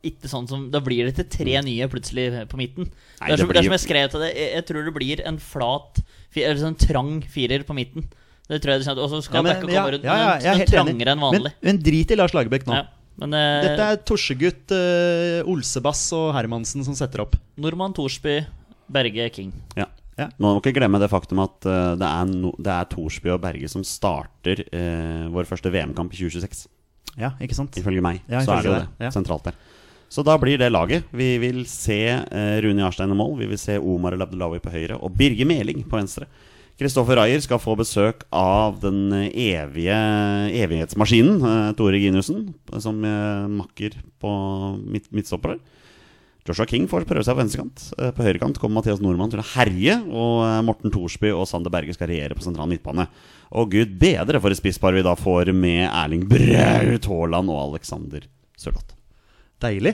Speaker 3: ikke sånn som Da blir det ikke
Speaker 1: Mm.
Speaker 3: tre nye plutselig på midten.
Speaker 2: Nei,
Speaker 3: det, er
Speaker 2: det
Speaker 3: som, det
Speaker 2: blir
Speaker 3: er
Speaker 2: jo-
Speaker 3: som jeg skrev til deg, jeg, jeg tror det blir en flat fi- Eller sånn trang firer på midten. Det tror jeg du skjønner. Og så skal
Speaker 1: men-
Speaker 3: Bekke
Speaker 1: ja,
Speaker 3: komme rundt
Speaker 1: ja, ja,
Speaker 3: men
Speaker 1: jeg er
Speaker 3: den
Speaker 1: helt enig.
Speaker 3: trangere enn vanlig.
Speaker 1: Men, men drit i Lars Lagerbäck nå.
Speaker 3: ja. Men eh,
Speaker 1: Dette er Torsegutt, eh, Olsebass og Hermansen som setter opp.
Speaker 3: Nordmann, Thorsby, Berge, King.
Speaker 2: Ja.
Speaker 1: Ja.
Speaker 2: Man må ikke glemme det faktum at eh, det, er no, det er Thorsby og Berge som starter eh, vår første VM-kamp i 2026.
Speaker 1: Ja, ikke sant?
Speaker 2: Ifølge meg
Speaker 1: Ja,
Speaker 2: så
Speaker 1: ifølge
Speaker 2: er det jo
Speaker 1: deg,
Speaker 2: det
Speaker 1: ja.
Speaker 2: sentralt der. Så da blir det laget. Vi vil se eh, Rune Jarstein i mål. Vi vil se Omar El Abdelawi på høyre og Birger Meling på venstre. Kristoffer Ayer skal få besøk av den eh, evige evighetsmaskinen, eh, Tore Ginussen, som eh, makker på midt, midtstopper der. Joshua King får prøve seg på venstrekant. Eh, På høyrekant kommer Mathias Nordmann til å herje, og eh, Morten Thorsby og Sander Berge skal regjere på sentral midtbane. Og gud bedre for et spisspar vi da får med Erling Braut Haaland og Alexander Sørloth.
Speaker 1: Deilig.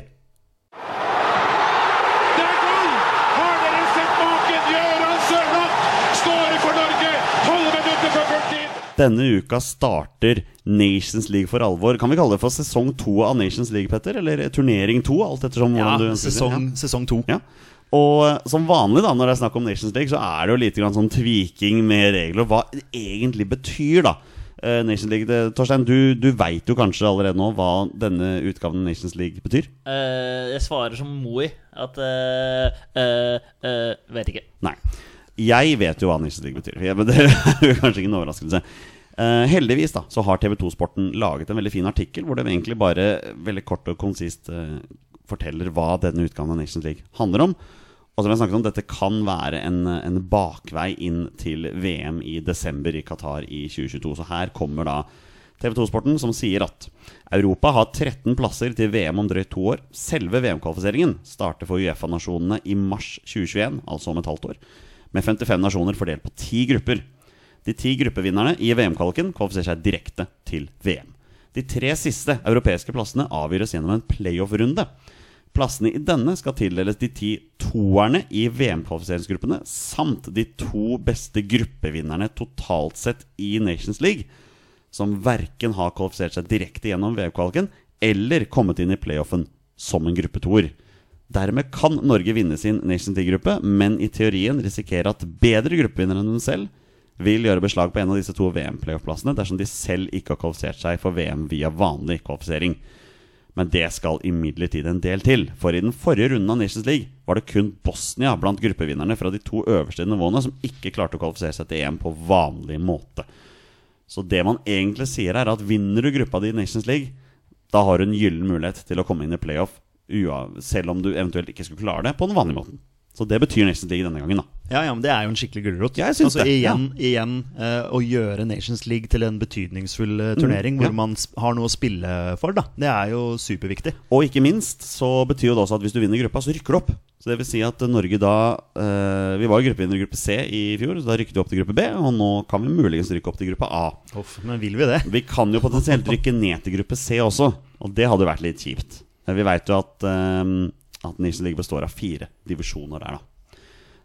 Speaker 4: Det er gull! Har dere sett maken? Gøran Sørloth skårer for Norge! 12 minutter for 40!
Speaker 2: Denne uka starter Nations League for alvor. Kan vi kalle det for sesong to av Nations League, Petter? Eller turnering to, alt ettersom
Speaker 1: Ja,
Speaker 2: hvordan du ønsker det.
Speaker 1: sesong,
Speaker 2: Ja.
Speaker 1: sesong to.
Speaker 2: Ja. Og eh, som vanlig da, når det er snakk om Nations League, så er det jo litt grann sånn tviking med regler og hva det egentlig betyr, da. Eh, Nations League, det, Torstein, du, du veit jo kanskje allerede nå hva denne utgaven av Nations League betyr?
Speaker 3: Eh, jeg svarer som Moi at eh, eh, eh, Vet ikke.
Speaker 2: Nei. Jeg vet jo hva Nations League betyr, men det er jo kanskje ikke en overraskelse. Eh, heldigvis da, så har TV 2-sporten laget en veldig fin artikkel hvor de egentlig bare veldig kort og konsist eh, forteller hva denne utgaven av Nations League handler om. Og som jeg snakket om, dette kan være en, en bakvei inn til VM i desember i Qatar i 2022. Så her kommer da TV 2-sporten som sier at Europa har 13 plasser til VM om drøyt to år. Selve VM-kvalifiseringen starter for Uefa-nasjonene i mars 2021, altså om et halvt år, med 55 nasjoner fordelt på ti grupper. De ti gruppevinnerne i VM-kvaliken kvalifiserer seg direkte til VM. De tre siste europeiske plassene avgjøres gjennom en playoff-runde. Plassene i denne skal tildeles de ti toerne i VM-kvalifiseringsgruppene samt de to beste gruppevinnerne totalt sett i Nations League, som verken har kvalifisert seg direkte gjennom VM-kvaliken eller kommet inn i playoffen som en gruppe toer. Dermed kan Norge vinne sin Nations League-gruppe, men i teorien risikere at bedre gruppevinnere enn dem selv vil gjøre beslag på en av disse to VM-playoff-plassene dersom de selv ikke har kvalifisert seg for VM via vanlig kvalifisering. Men det skal imidlertid en del til, for i den forrige runden av Nations League var det kun Bosnia blant gruppevinnerne fra de to øverste nivåene som ikke klarte å kvalifisere seg til EM på vanlig måte. Så det man egentlig sier, er at vinner du gruppa di i Nations League, da har du en gyllen mulighet til å komme inn i playoff, ua- selv om du eventuelt ikke skulle klare det på den vanlige måten. Så det betyr Nations League denne gangen, da.
Speaker 1: Ja, ja, men det er jo en skikkelig gulrot.
Speaker 2: Jeg syns
Speaker 1: altså,
Speaker 2: det, ja.
Speaker 1: Igjen, igjen eh, å gjøre Nations League til en betydningsfull eh, turnering hvor
Speaker 2: ja.
Speaker 1: man sp- har noe å spille for, da. Det er jo superviktig.
Speaker 2: Og ikke minst så betyr jo det også at hvis du vinner gruppa, så rykker du opp. Så det vil si at Norge da eh, Vi var jo gruppevinner i gruppe C i fjor, så da rykket vi opp til gruppe B. Og nå kan vi muligens rykke opp til gruppe A.
Speaker 1: Hoff, men vil vi det?
Speaker 2: Vi kan jo potensielt rykke ned til gruppe C også, og det hadde jo vært litt kjipt. Men vi veit jo at, eh, at Nations League består av fire divisjoner der, da.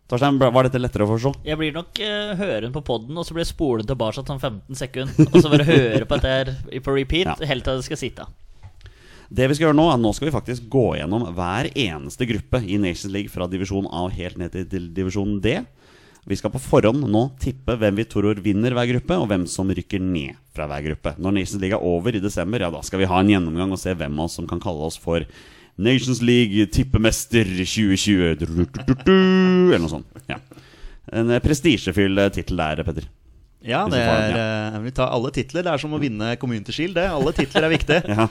Speaker 2: Torstein, ble- var dette lettere å forstå?
Speaker 3: Jeg blir nok eh, høren på podden, og så blir jeg spolen tilbake sånn 15 sekunder. Og så bare høre på dette her i- på repeat
Speaker 2: Ja.
Speaker 3: helt til det skal sitte.
Speaker 2: Det vi skal gjøre nå, er at nå skal vi faktisk gå gjennom hver eneste gruppe i Nations League fra divisjon A og helt ned til til divisjon D. Vi skal på forhånd nå tippe hvem vi tror vinner hver gruppe, og hvem som rykker ned fra hver gruppe. Når Nations League er over i desember, ja da skal vi ha en gjennomgang og se hvem av oss som kan kalle oss for Nations League tippemester 2020 du-du-du-du, Eller noe sånt. Ja. En eh, prestisjefyll eh, tittel der, Petter.
Speaker 1: Ja,
Speaker 2: Hvis vi
Speaker 1: det
Speaker 2: får den,
Speaker 1: er, eh, vi tar alle titler. Det er som å vinne Community Shield, det. Alle titler er viktige.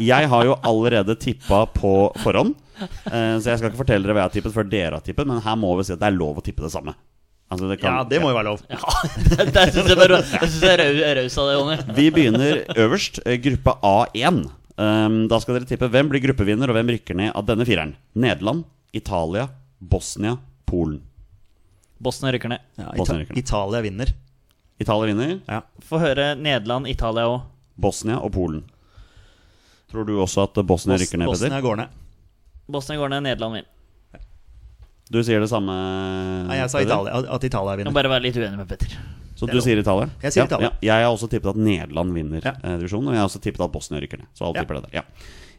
Speaker 2: Ja. Jeg har jo allerede tippa på forhånd, eh, så jeg skal ikke fortelle dere hva jeg har tippet før dere har tippet, men her må vi si at det er lov å tippe det samme. Altså, det
Speaker 1: Ja,
Speaker 2: kan-
Speaker 1: det må jo være lov.
Speaker 3: Det, det syns jeg bare det synes jeg er rau- raus av det, Jonny.
Speaker 2: Vi begynner øverst, eh, gruppe A1. Um, da skal dere tippe hvem blir gruppevinner, og hvem rykker ned av denne fireren. Nederland, Italia, Bosnia, Polen.
Speaker 3: Bosnia rykker ned.
Speaker 1: Ja,
Speaker 2: Bosnia rykker
Speaker 1: Ita
Speaker 2: ned.
Speaker 1: Italia vinner.
Speaker 2: Italia vinner,
Speaker 1: Ja.
Speaker 3: Få høre Nederland, Italia òg.
Speaker 2: Bosnia og Polen. Tror du også at Bosnia
Speaker 1: Bos
Speaker 2: rykker ned, Petter?
Speaker 1: Bosnia går ned.
Speaker 3: Bosnia går ned, Nederland vinner.
Speaker 2: Du sier det samme?
Speaker 1: Nei, jeg sa
Speaker 2: Petter?
Speaker 1: Italia, at Italia
Speaker 3: Jeg må
Speaker 1: vinner.
Speaker 3: bare være litt uenig med Petter.
Speaker 2: Så
Speaker 1: Det er
Speaker 2: du
Speaker 1: lov.
Speaker 2: sier Italia?
Speaker 1: Jeg sier Italia.
Speaker 2: Ja, ja. Jeg har også tippet at Nederland vinner
Speaker 1: Ja.
Speaker 2: eh, divisjonen. Og jeg har også tippet at Bosnia rykker ned. Så alle
Speaker 1: Ja.
Speaker 2: tipper det der. Ja.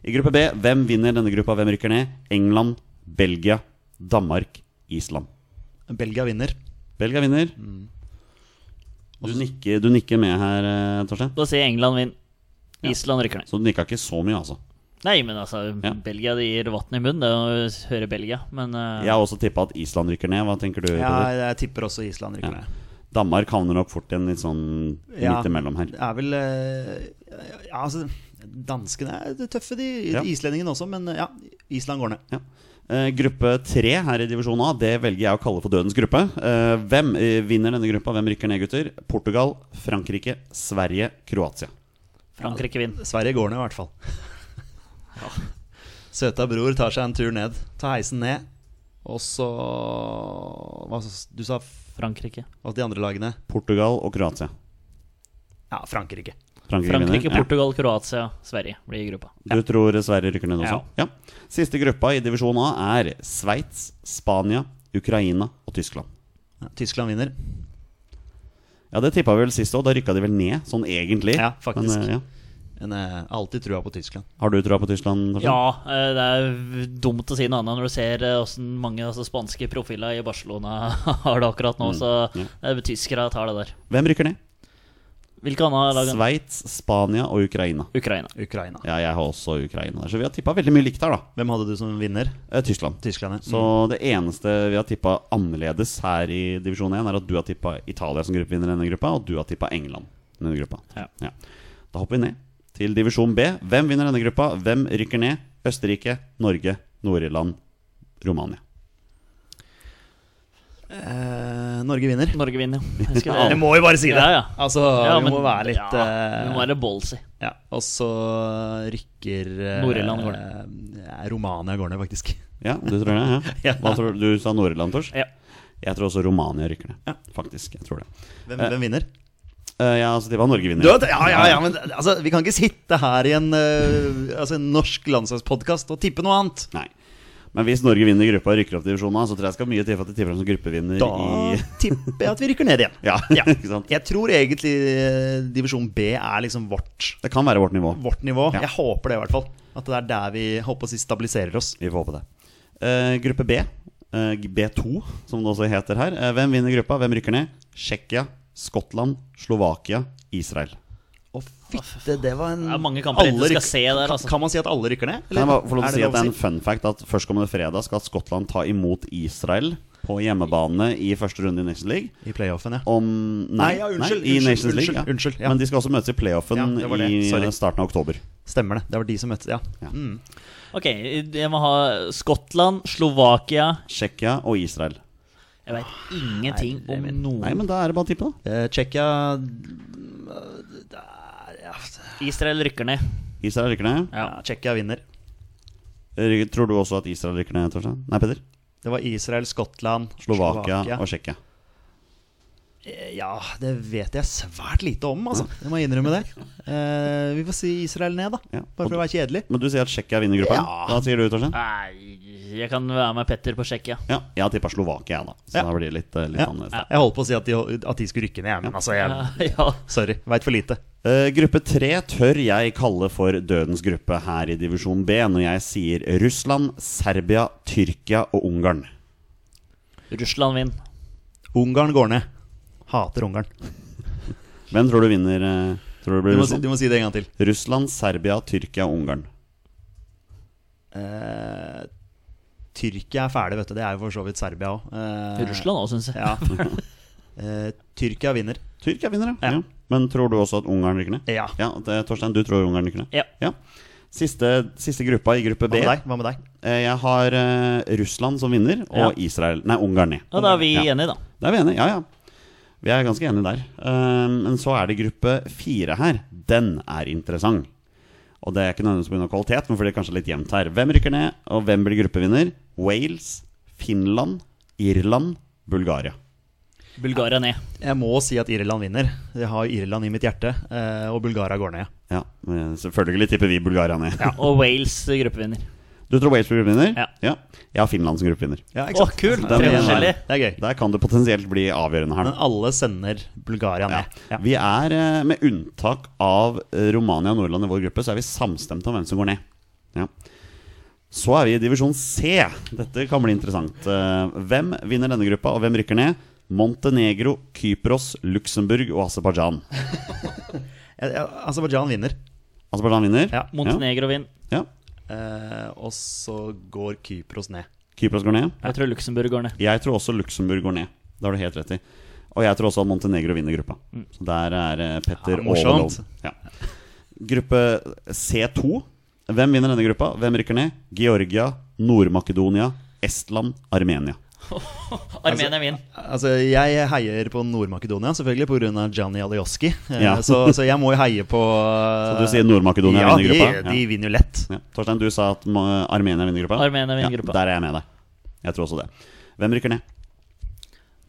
Speaker 2: I gruppe B, hvem vinner denne gruppa? Hvem rykker ned? England, Belgia, Danmark, Island.
Speaker 1: Belgia vinner.
Speaker 2: Belgia vinner.
Speaker 1: Mm.
Speaker 2: Du, nikker, du nikker med her, eh, Torstein.
Speaker 3: Da sier England vinner. Island rykker ned.
Speaker 2: Så du nikka ikke så mye, altså.
Speaker 3: Nei, men altså,
Speaker 2: Ja.
Speaker 3: Belgia de gir vann i munnen. Det er å høre Belgia, men eh,
Speaker 2: Jeg har også tippa at Island rykker ned. Hva tenker du?
Speaker 1: Ja,
Speaker 2: Petter?
Speaker 1: jeg tipper også Island rykker
Speaker 2: Ja.
Speaker 1: ned.
Speaker 2: Danmark havner nok fort i en litt sånn
Speaker 1: Ja.
Speaker 2: midt imellom her.
Speaker 1: Det er vel eh, Ja, altså Danskene er tøffe, de.
Speaker 2: Ja.
Speaker 1: Islendingene også, men eh, ja. Island går ned.
Speaker 2: Ja. Eh, gruppe tre her i divisjon A, det velger jeg å kalle for dødens gruppe. Eh, hvem eh, vinner denne gruppa? Hvem rykker ned, gutter? Portugal, Frankrike, Sverige, Kroatia.
Speaker 3: Frankrike vinner.
Speaker 1: Sverige går ned, i hvert fall. Søta bror tar seg en tur ned. Tar heisen ned. Og så hva, s- Du sa f-
Speaker 3: Frankrike.
Speaker 1: at de andre lagene
Speaker 2: Portugal og Kroatia.
Speaker 1: Ja, Frankrike.
Speaker 2: Frankrike,
Speaker 3: Frankrike,
Speaker 2: vinner.
Speaker 3: Portugal, Kroatia, Sverige blir i gruppa.
Speaker 2: Ja. Du tror Sverige rykker ned også? Ja. Siste gruppa i divisjon A er Sveits, Spania, Ukraina og Tyskland.
Speaker 1: Ja, Tyskland vinner.
Speaker 2: Ja, det tippa vi vel sist òg. Da rykka de vel ned, sånn egentlig.
Speaker 1: Ja, faktisk.
Speaker 2: Men, eh, ja.
Speaker 1: Men jeg har alltid trua på Tyskland.
Speaker 2: Har du trua på Tyskland? Torstein?
Speaker 3: Ja, eh, det er v- dumt å si noe annet når du ser eh, hvordan mange altså, spanske profiler i Barcelona har det akkurat nå. Så
Speaker 2: ja.
Speaker 3: eh, tyskere tar det der.
Speaker 2: Hvem rykker ned?
Speaker 3: Hvilke andre lag?
Speaker 2: Sveits, Spania og Ukraina.
Speaker 3: Ukraina.
Speaker 1: Ukraina.
Speaker 2: Ja, jeg har også Ukraina der. Så vi har tippa veldig mye likt her, da.
Speaker 1: Hvem hadde du som vinner?
Speaker 2: Eh, Tyskland.
Speaker 1: Tyskland, ja.
Speaker 2: Så det eneste vi har tippa annerledes her i divisjon 1, er at du har tippa Italia som gruppevinner i denne gruppa, og du har tippa England i denne gruppa.
Speaker 3: Ja.
Speaker 2: Da hopper vi ned til divisjon B. Hvem vinner denne gruppa? Hvem rykker ned? Østerrike, Norge, Nord-Irland, Romania.
Speaker 1: Eh, Norge vinner.
Speaker 3: Norge vinner, ja. Jeg skulle-
Speaker 1: Jeg må jo bare si det!
Speaker 3: Ja, ja.
Speaker 1: Altså,
Speaker 3: Ja,
Speaker 1: vi
Speaker 3: men-
Speaker 1: må være litt
Speaker 3: ja,
Speaker 1: eh,
Speaker 3: Vi må være ballsy.
Speaker 1: Ja, og så rykker eh,
Speaker 3: Nord-Irland går
Speaker 1: eh, Romania går ned, faktisk.
Speaker 2: Ja, du tror det? Ja.
Speaker 1: Ja.
Speaker 2: Hva tror du? Du sa Nord-Irland, Tors?
Speaker 3: Ja.
Speaker 2: Jeg tror også Romania rykker ned.
Speaker 1: Ja.
Speaker 2: Faktisk. Jeg tror det.
Speaker 1: Hvem, hvem vinner?
Speaker 2: Eh, ja, altså, det var Norge vinner.
Speaker 1: Du, ja, ja, ja, men altså, vi kan ikke sitte her i en, eh, altså, en norsk landslagspodkast og tippe noe annet!
Speaker 2: Nei. Men hvis Norge vinner gruppa og rykker opp divisjonen, så tror jeg det skal mye til for at de tipper dem som gruppevinner
Speaker 1: Da
Speaker 2: i
Speaker 1: tipper jeg at vi rykker ned igjen.
Speaker 2: Ja,
Speaker 1: Ja.
Speaker 2: ikke sant?
Speaker 1: Jeg tror egentlig eh, divisjon B er liksom vårt,
Speaker 2: Det kan være vårt nivå.
Speaker 1: vårt nivå.
Speaker 2: Ja.
Speaker 1: Jeg håper det, i hvert fall. At det er der vi håper å si stabiliserer oss.
Speaker 2: Vi får håpe det. Eh, gruppe B, eh, B2, som det også heter her. Eh, hvem vinner gruppa? Hvem rykker ned? Tsjekkia, Skottland, Slovakia, Israel.
Speaker 1: Å, fytte, det var en
Speaker 3: Det er mange kamper
Speaker 1: alle
Speaker 3: du skal
Speaker 1: rykker-
Speaker 3: se der, altså.
Speaker 1: Kan man si at alle rykker ned?
Speaker 2: Kan jeg bare få lov til å si at det er en
Speaker 1: lov å si?
Speaker 2: fun fact at førstkommende fredag skal Skottland ta imot Israel på hjemmebane i første runde i Nations League.
Speaker 1: I playoffen, ja.
Speaker 2: Om Nei,
Speaker 1: Nei, ja, unnskyld,
Speaker 2: nei, i
Speaker 1: unnskyld,
Speaker 2: Nations
Speaker 1: unnskyld,
Speaker 2: League.
Speaker 1: unnskyld, ja.
Speaker 2: Men de skal også møtes i playoffen
Speaker 1: Ja, det var det.
Speaker 2: i eh,
Speaker 1: Sorry.
Speaker 2: starten av oktober.
Speaker 1: Stemmer det. Det var de som møttes, ja.
Speaker 2: Ja.
Speaker 1: Mm.
Speaker 3: Ok, jeg må ha Skottland, Slovakia
Speaker 2: Tsjekkia og Israel.
Speaker 3: Jeg veit ingenting om
Speaker 1: Ah, Nei, det er min-
Speaker 2: Nei,
Speaker 3: noen.
Speaker 2: men da er det bare å tippe, da.
Speaker 1: Eh, Tsjekkia
Speaker 3: Israel rykker ned.
Speaker 2: Israel rykker ned.
Speaker 3: Ja.
Speaker 1: ja, Tsjekkia vinner.
Speaker 2: Ry- Tror du også at Israel rykker ned, Torstein? Nei, Peder?
Speaker 1: Det var Israel, Skottland,
Speaker 2: Slovakia, og Tsjekkia.
Speaker 1: Eh, Ja, det vet jeg svært lite om, altså. Jeg må innrømme det. Eh, vi får si Israel ned, da.
Speaker 2: Ja.
Speaker 1: Bare for å være kjedelig.
Speaker 2: Men du sier at Tsjekkia vinner gruppa?
Speaker 1: Ja.
Speaker 2: Da sier du, Torstein?
Speaker 3: Nei, jeg kan være med Petter på Tsjekkia.
Speaker 2: Ja. Jeg har tippa Slovakia, jeg, da. Så
Speaker 1: Ja.
Speaker 2: da blir det litt, eh, litt
Speaker 1: Ja.
Speaker 2: annerledes.
Speaker 1: Jeg holdt på å si at de, at de skulle rykke ned, jeg, men altså jeg,
Speaker 3: Ja.
Speaker 1: Sorry. Veit for lite.
Speaker 2: Eh, gruppe tre tør jeg kalle for dødens gruppe her i divisjon B når jeg sier Russland, Serbia, Tyrkia og Ungarn.
Speaker 3: Russland vinner.
Speaker 1: Ungarn går ned. Hater Ungarn.
Speaker 2: Hvem tror du vinner? eh, Tror du det
Speaker 1: Du
Speaker 2: blir
Speaker 1: må, si,
Speaker 2: Russland?
Speaker 1: du må si det en gang til.
Speaker 2: Russland, Serbia, Tyrkia og Ungarn.
Speaker 1: Eh, Tyrkia er ferdig, vet du. Det er jo for så vidt Serbia òg.
Speaker 3: Russland òg, syns jeg.
Speaker 1: Ja. Eh, Tyrkia vinner.
Speaker 2: Tyrkia vinner, ja.
Speaker 1: Ja.
Speaker 2: ja. Men tror du også at Ungarn rykker ned?
Speaker 1: Ja.
Speaker 2: Ja, det, Torstein, du tror Ungarn rykker ned?
Speaker 3: Ja.
Speaker 2: ja. Siste, siste gruppa i gruppe
Speaker 1: Hva
Speaker 2: B.
Speaker 1: med deg? Hva med deg?
Speaker 2: Eh, Jeg har eh, Russland som vinner, og Israel Nei, Ungarn ned.
Speaker 3: Ja, da er vi
Speaker 2: Ja.
Speaker 3: enige, da.
Speaker 2: Det er vi enige, ja ja. Vi er ganske enige der. Eh, Men så er det gruppe fire her. Den er interessant. Og det er ikke nødvendigvis pga. kvalitet, men fordi det kanskje er litt jevnt her. Hvem rykker ned, og hvem blir gruppevinner? Wales, Finland, Irland, Bulgaria.
Speaker 3: Bulgaria ned.
Speaker 1: Jeg må si at Irland vinner. Jeg har jo Irland i mitt hjerte. eh, og Bulgaria går ned.
Speaker 2: Ja, men selvfølgelig tipper vi Bulgaria ned.
Speaker 3: Og Wales eh, gruppevinner.
Speaker 2: Du tror Wales blir gruppevinner?
Speaker 3: Ja.
Speaker 2: Jeg har Finland som gruppevinner.
Speaker 1: Ja,
Speaker 3: Å, kult!
Speaker 2: Den
Speaker 3: Tre
Speaker 2: er-
Speaker 3: forskjellige.
Speaker 1: Det er gøy.
Speaker 2: Der kan det potensielt bli avgjørende her. nå.
Speaker 1: Men alle sender
Speaker 2: Ja.
Speaker 1: Bulgaria ned. Ja.
Speaker 2: Vi er, eh, med unntak av eh, Romania og Nordland i vår gruppe, så er vi samstemte om hvem som går ned. Ja. Så er vi i divisjon C. Dette kan bli interessant. Eh, Hvem vinner denne gruppa, og hvem rykker ned? Montenegro, Kypros, Luxembourg og Aserbajdsjan.
Speaker 1: Ja, ja, Aserbajdsjan eh, vinner.
Speaker 2: Aserbajdsjan vinner.
Speaker 1: Ja.
Speaker 3: Montenegro vinner.
Speaker 2: Ja.
Speaker 1: Eh, og så går Kypros ned.
Speaker 2: Kypros går ned.
Speaker 3: Jeg tror Luxembourg går ned.
Speaker 2: Jeg tror også Luxembourg går ned. Det har du helt rett i. Og jeg tror også at Montenegro vinner gruppa. Så der er eh, Petter
Speaker 1: Mm. Ja,
Speaker 2: ja,
Speaker 1: morsomt.
Speaker 2: Ja. Gruppe C2. Hvem vinner denne gruppa? Hvem rykker ned? Georgia, Nord-Makedonia, Estland, Armenia.
Speaker 3: Armenia vinner.
Speaker 1: Altså, Jeg heier på Nord-Makedonia, selvfølgelig pga. Gianni Alioski. Eh,
Speaker 2: Ja.
Speaker 1: så, så jeg må jo heie på
Speaker 2: Så du sier Nord-Makedonia
Speaker 1: Eh, Ja, de,
Speaker 2: vinner gruppa?
Speaker 1: de vinner jo lett.
Speaker 2: Ja. Ja. Torstein, du sa at Ma- Armenia vinner gruppa?
Speaker 3: Armenia vinner gruppa.
Speaker 2: Der er jeg med deg. Jeg tror også det. Hvem rykker ned?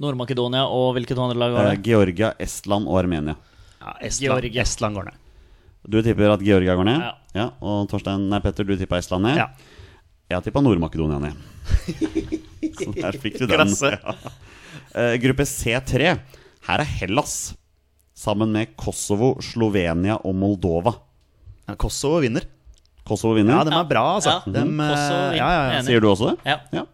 Speaker 3: Nord-Makedonia og hvilke to andre lag var
Speaker 2: Eh,
Speaker 3: det?
Speaker 2: Georgia, Estland og Armenia.
Speaker 1: Ja, Estland,
Speaker 3: Georgia.
Speaker 1: Estland går ned.
Speaker 2: Du tipper at Georgia går ned?
Speaker 3: Ja.
Speaker 2: Og Torstein, nei, Petter, du tippa Estland ned?
Speaker 1: Ja.
Speaker 2: Jeg har tippa Nord-Makedonia ned. Så der fikk du den.
Speaker 1: Klasse.
Speaker 2: Ja. Eh, gruppe C3. Her er Hellas. Sammen med Kosovo, Slovenia og Moldova.
Speaker 1: Ja, Kosovo vinner.
Speaker 2: Kosovo
Speaker 1: Ja,
Speaker 2: vinner.
Speaker 1: dem er bra, altså.
Speaker 3: Ja. Mm-hmm.
Speaker 1: Dem, eh,
Speaker 3: Kosovo vinner.
Speaker 1: ja, ja, ja.
Speaker 3: Enig.
Speaker 2: Sier du også det?
Speaker 3: Ja.
Speaker 2: Ja.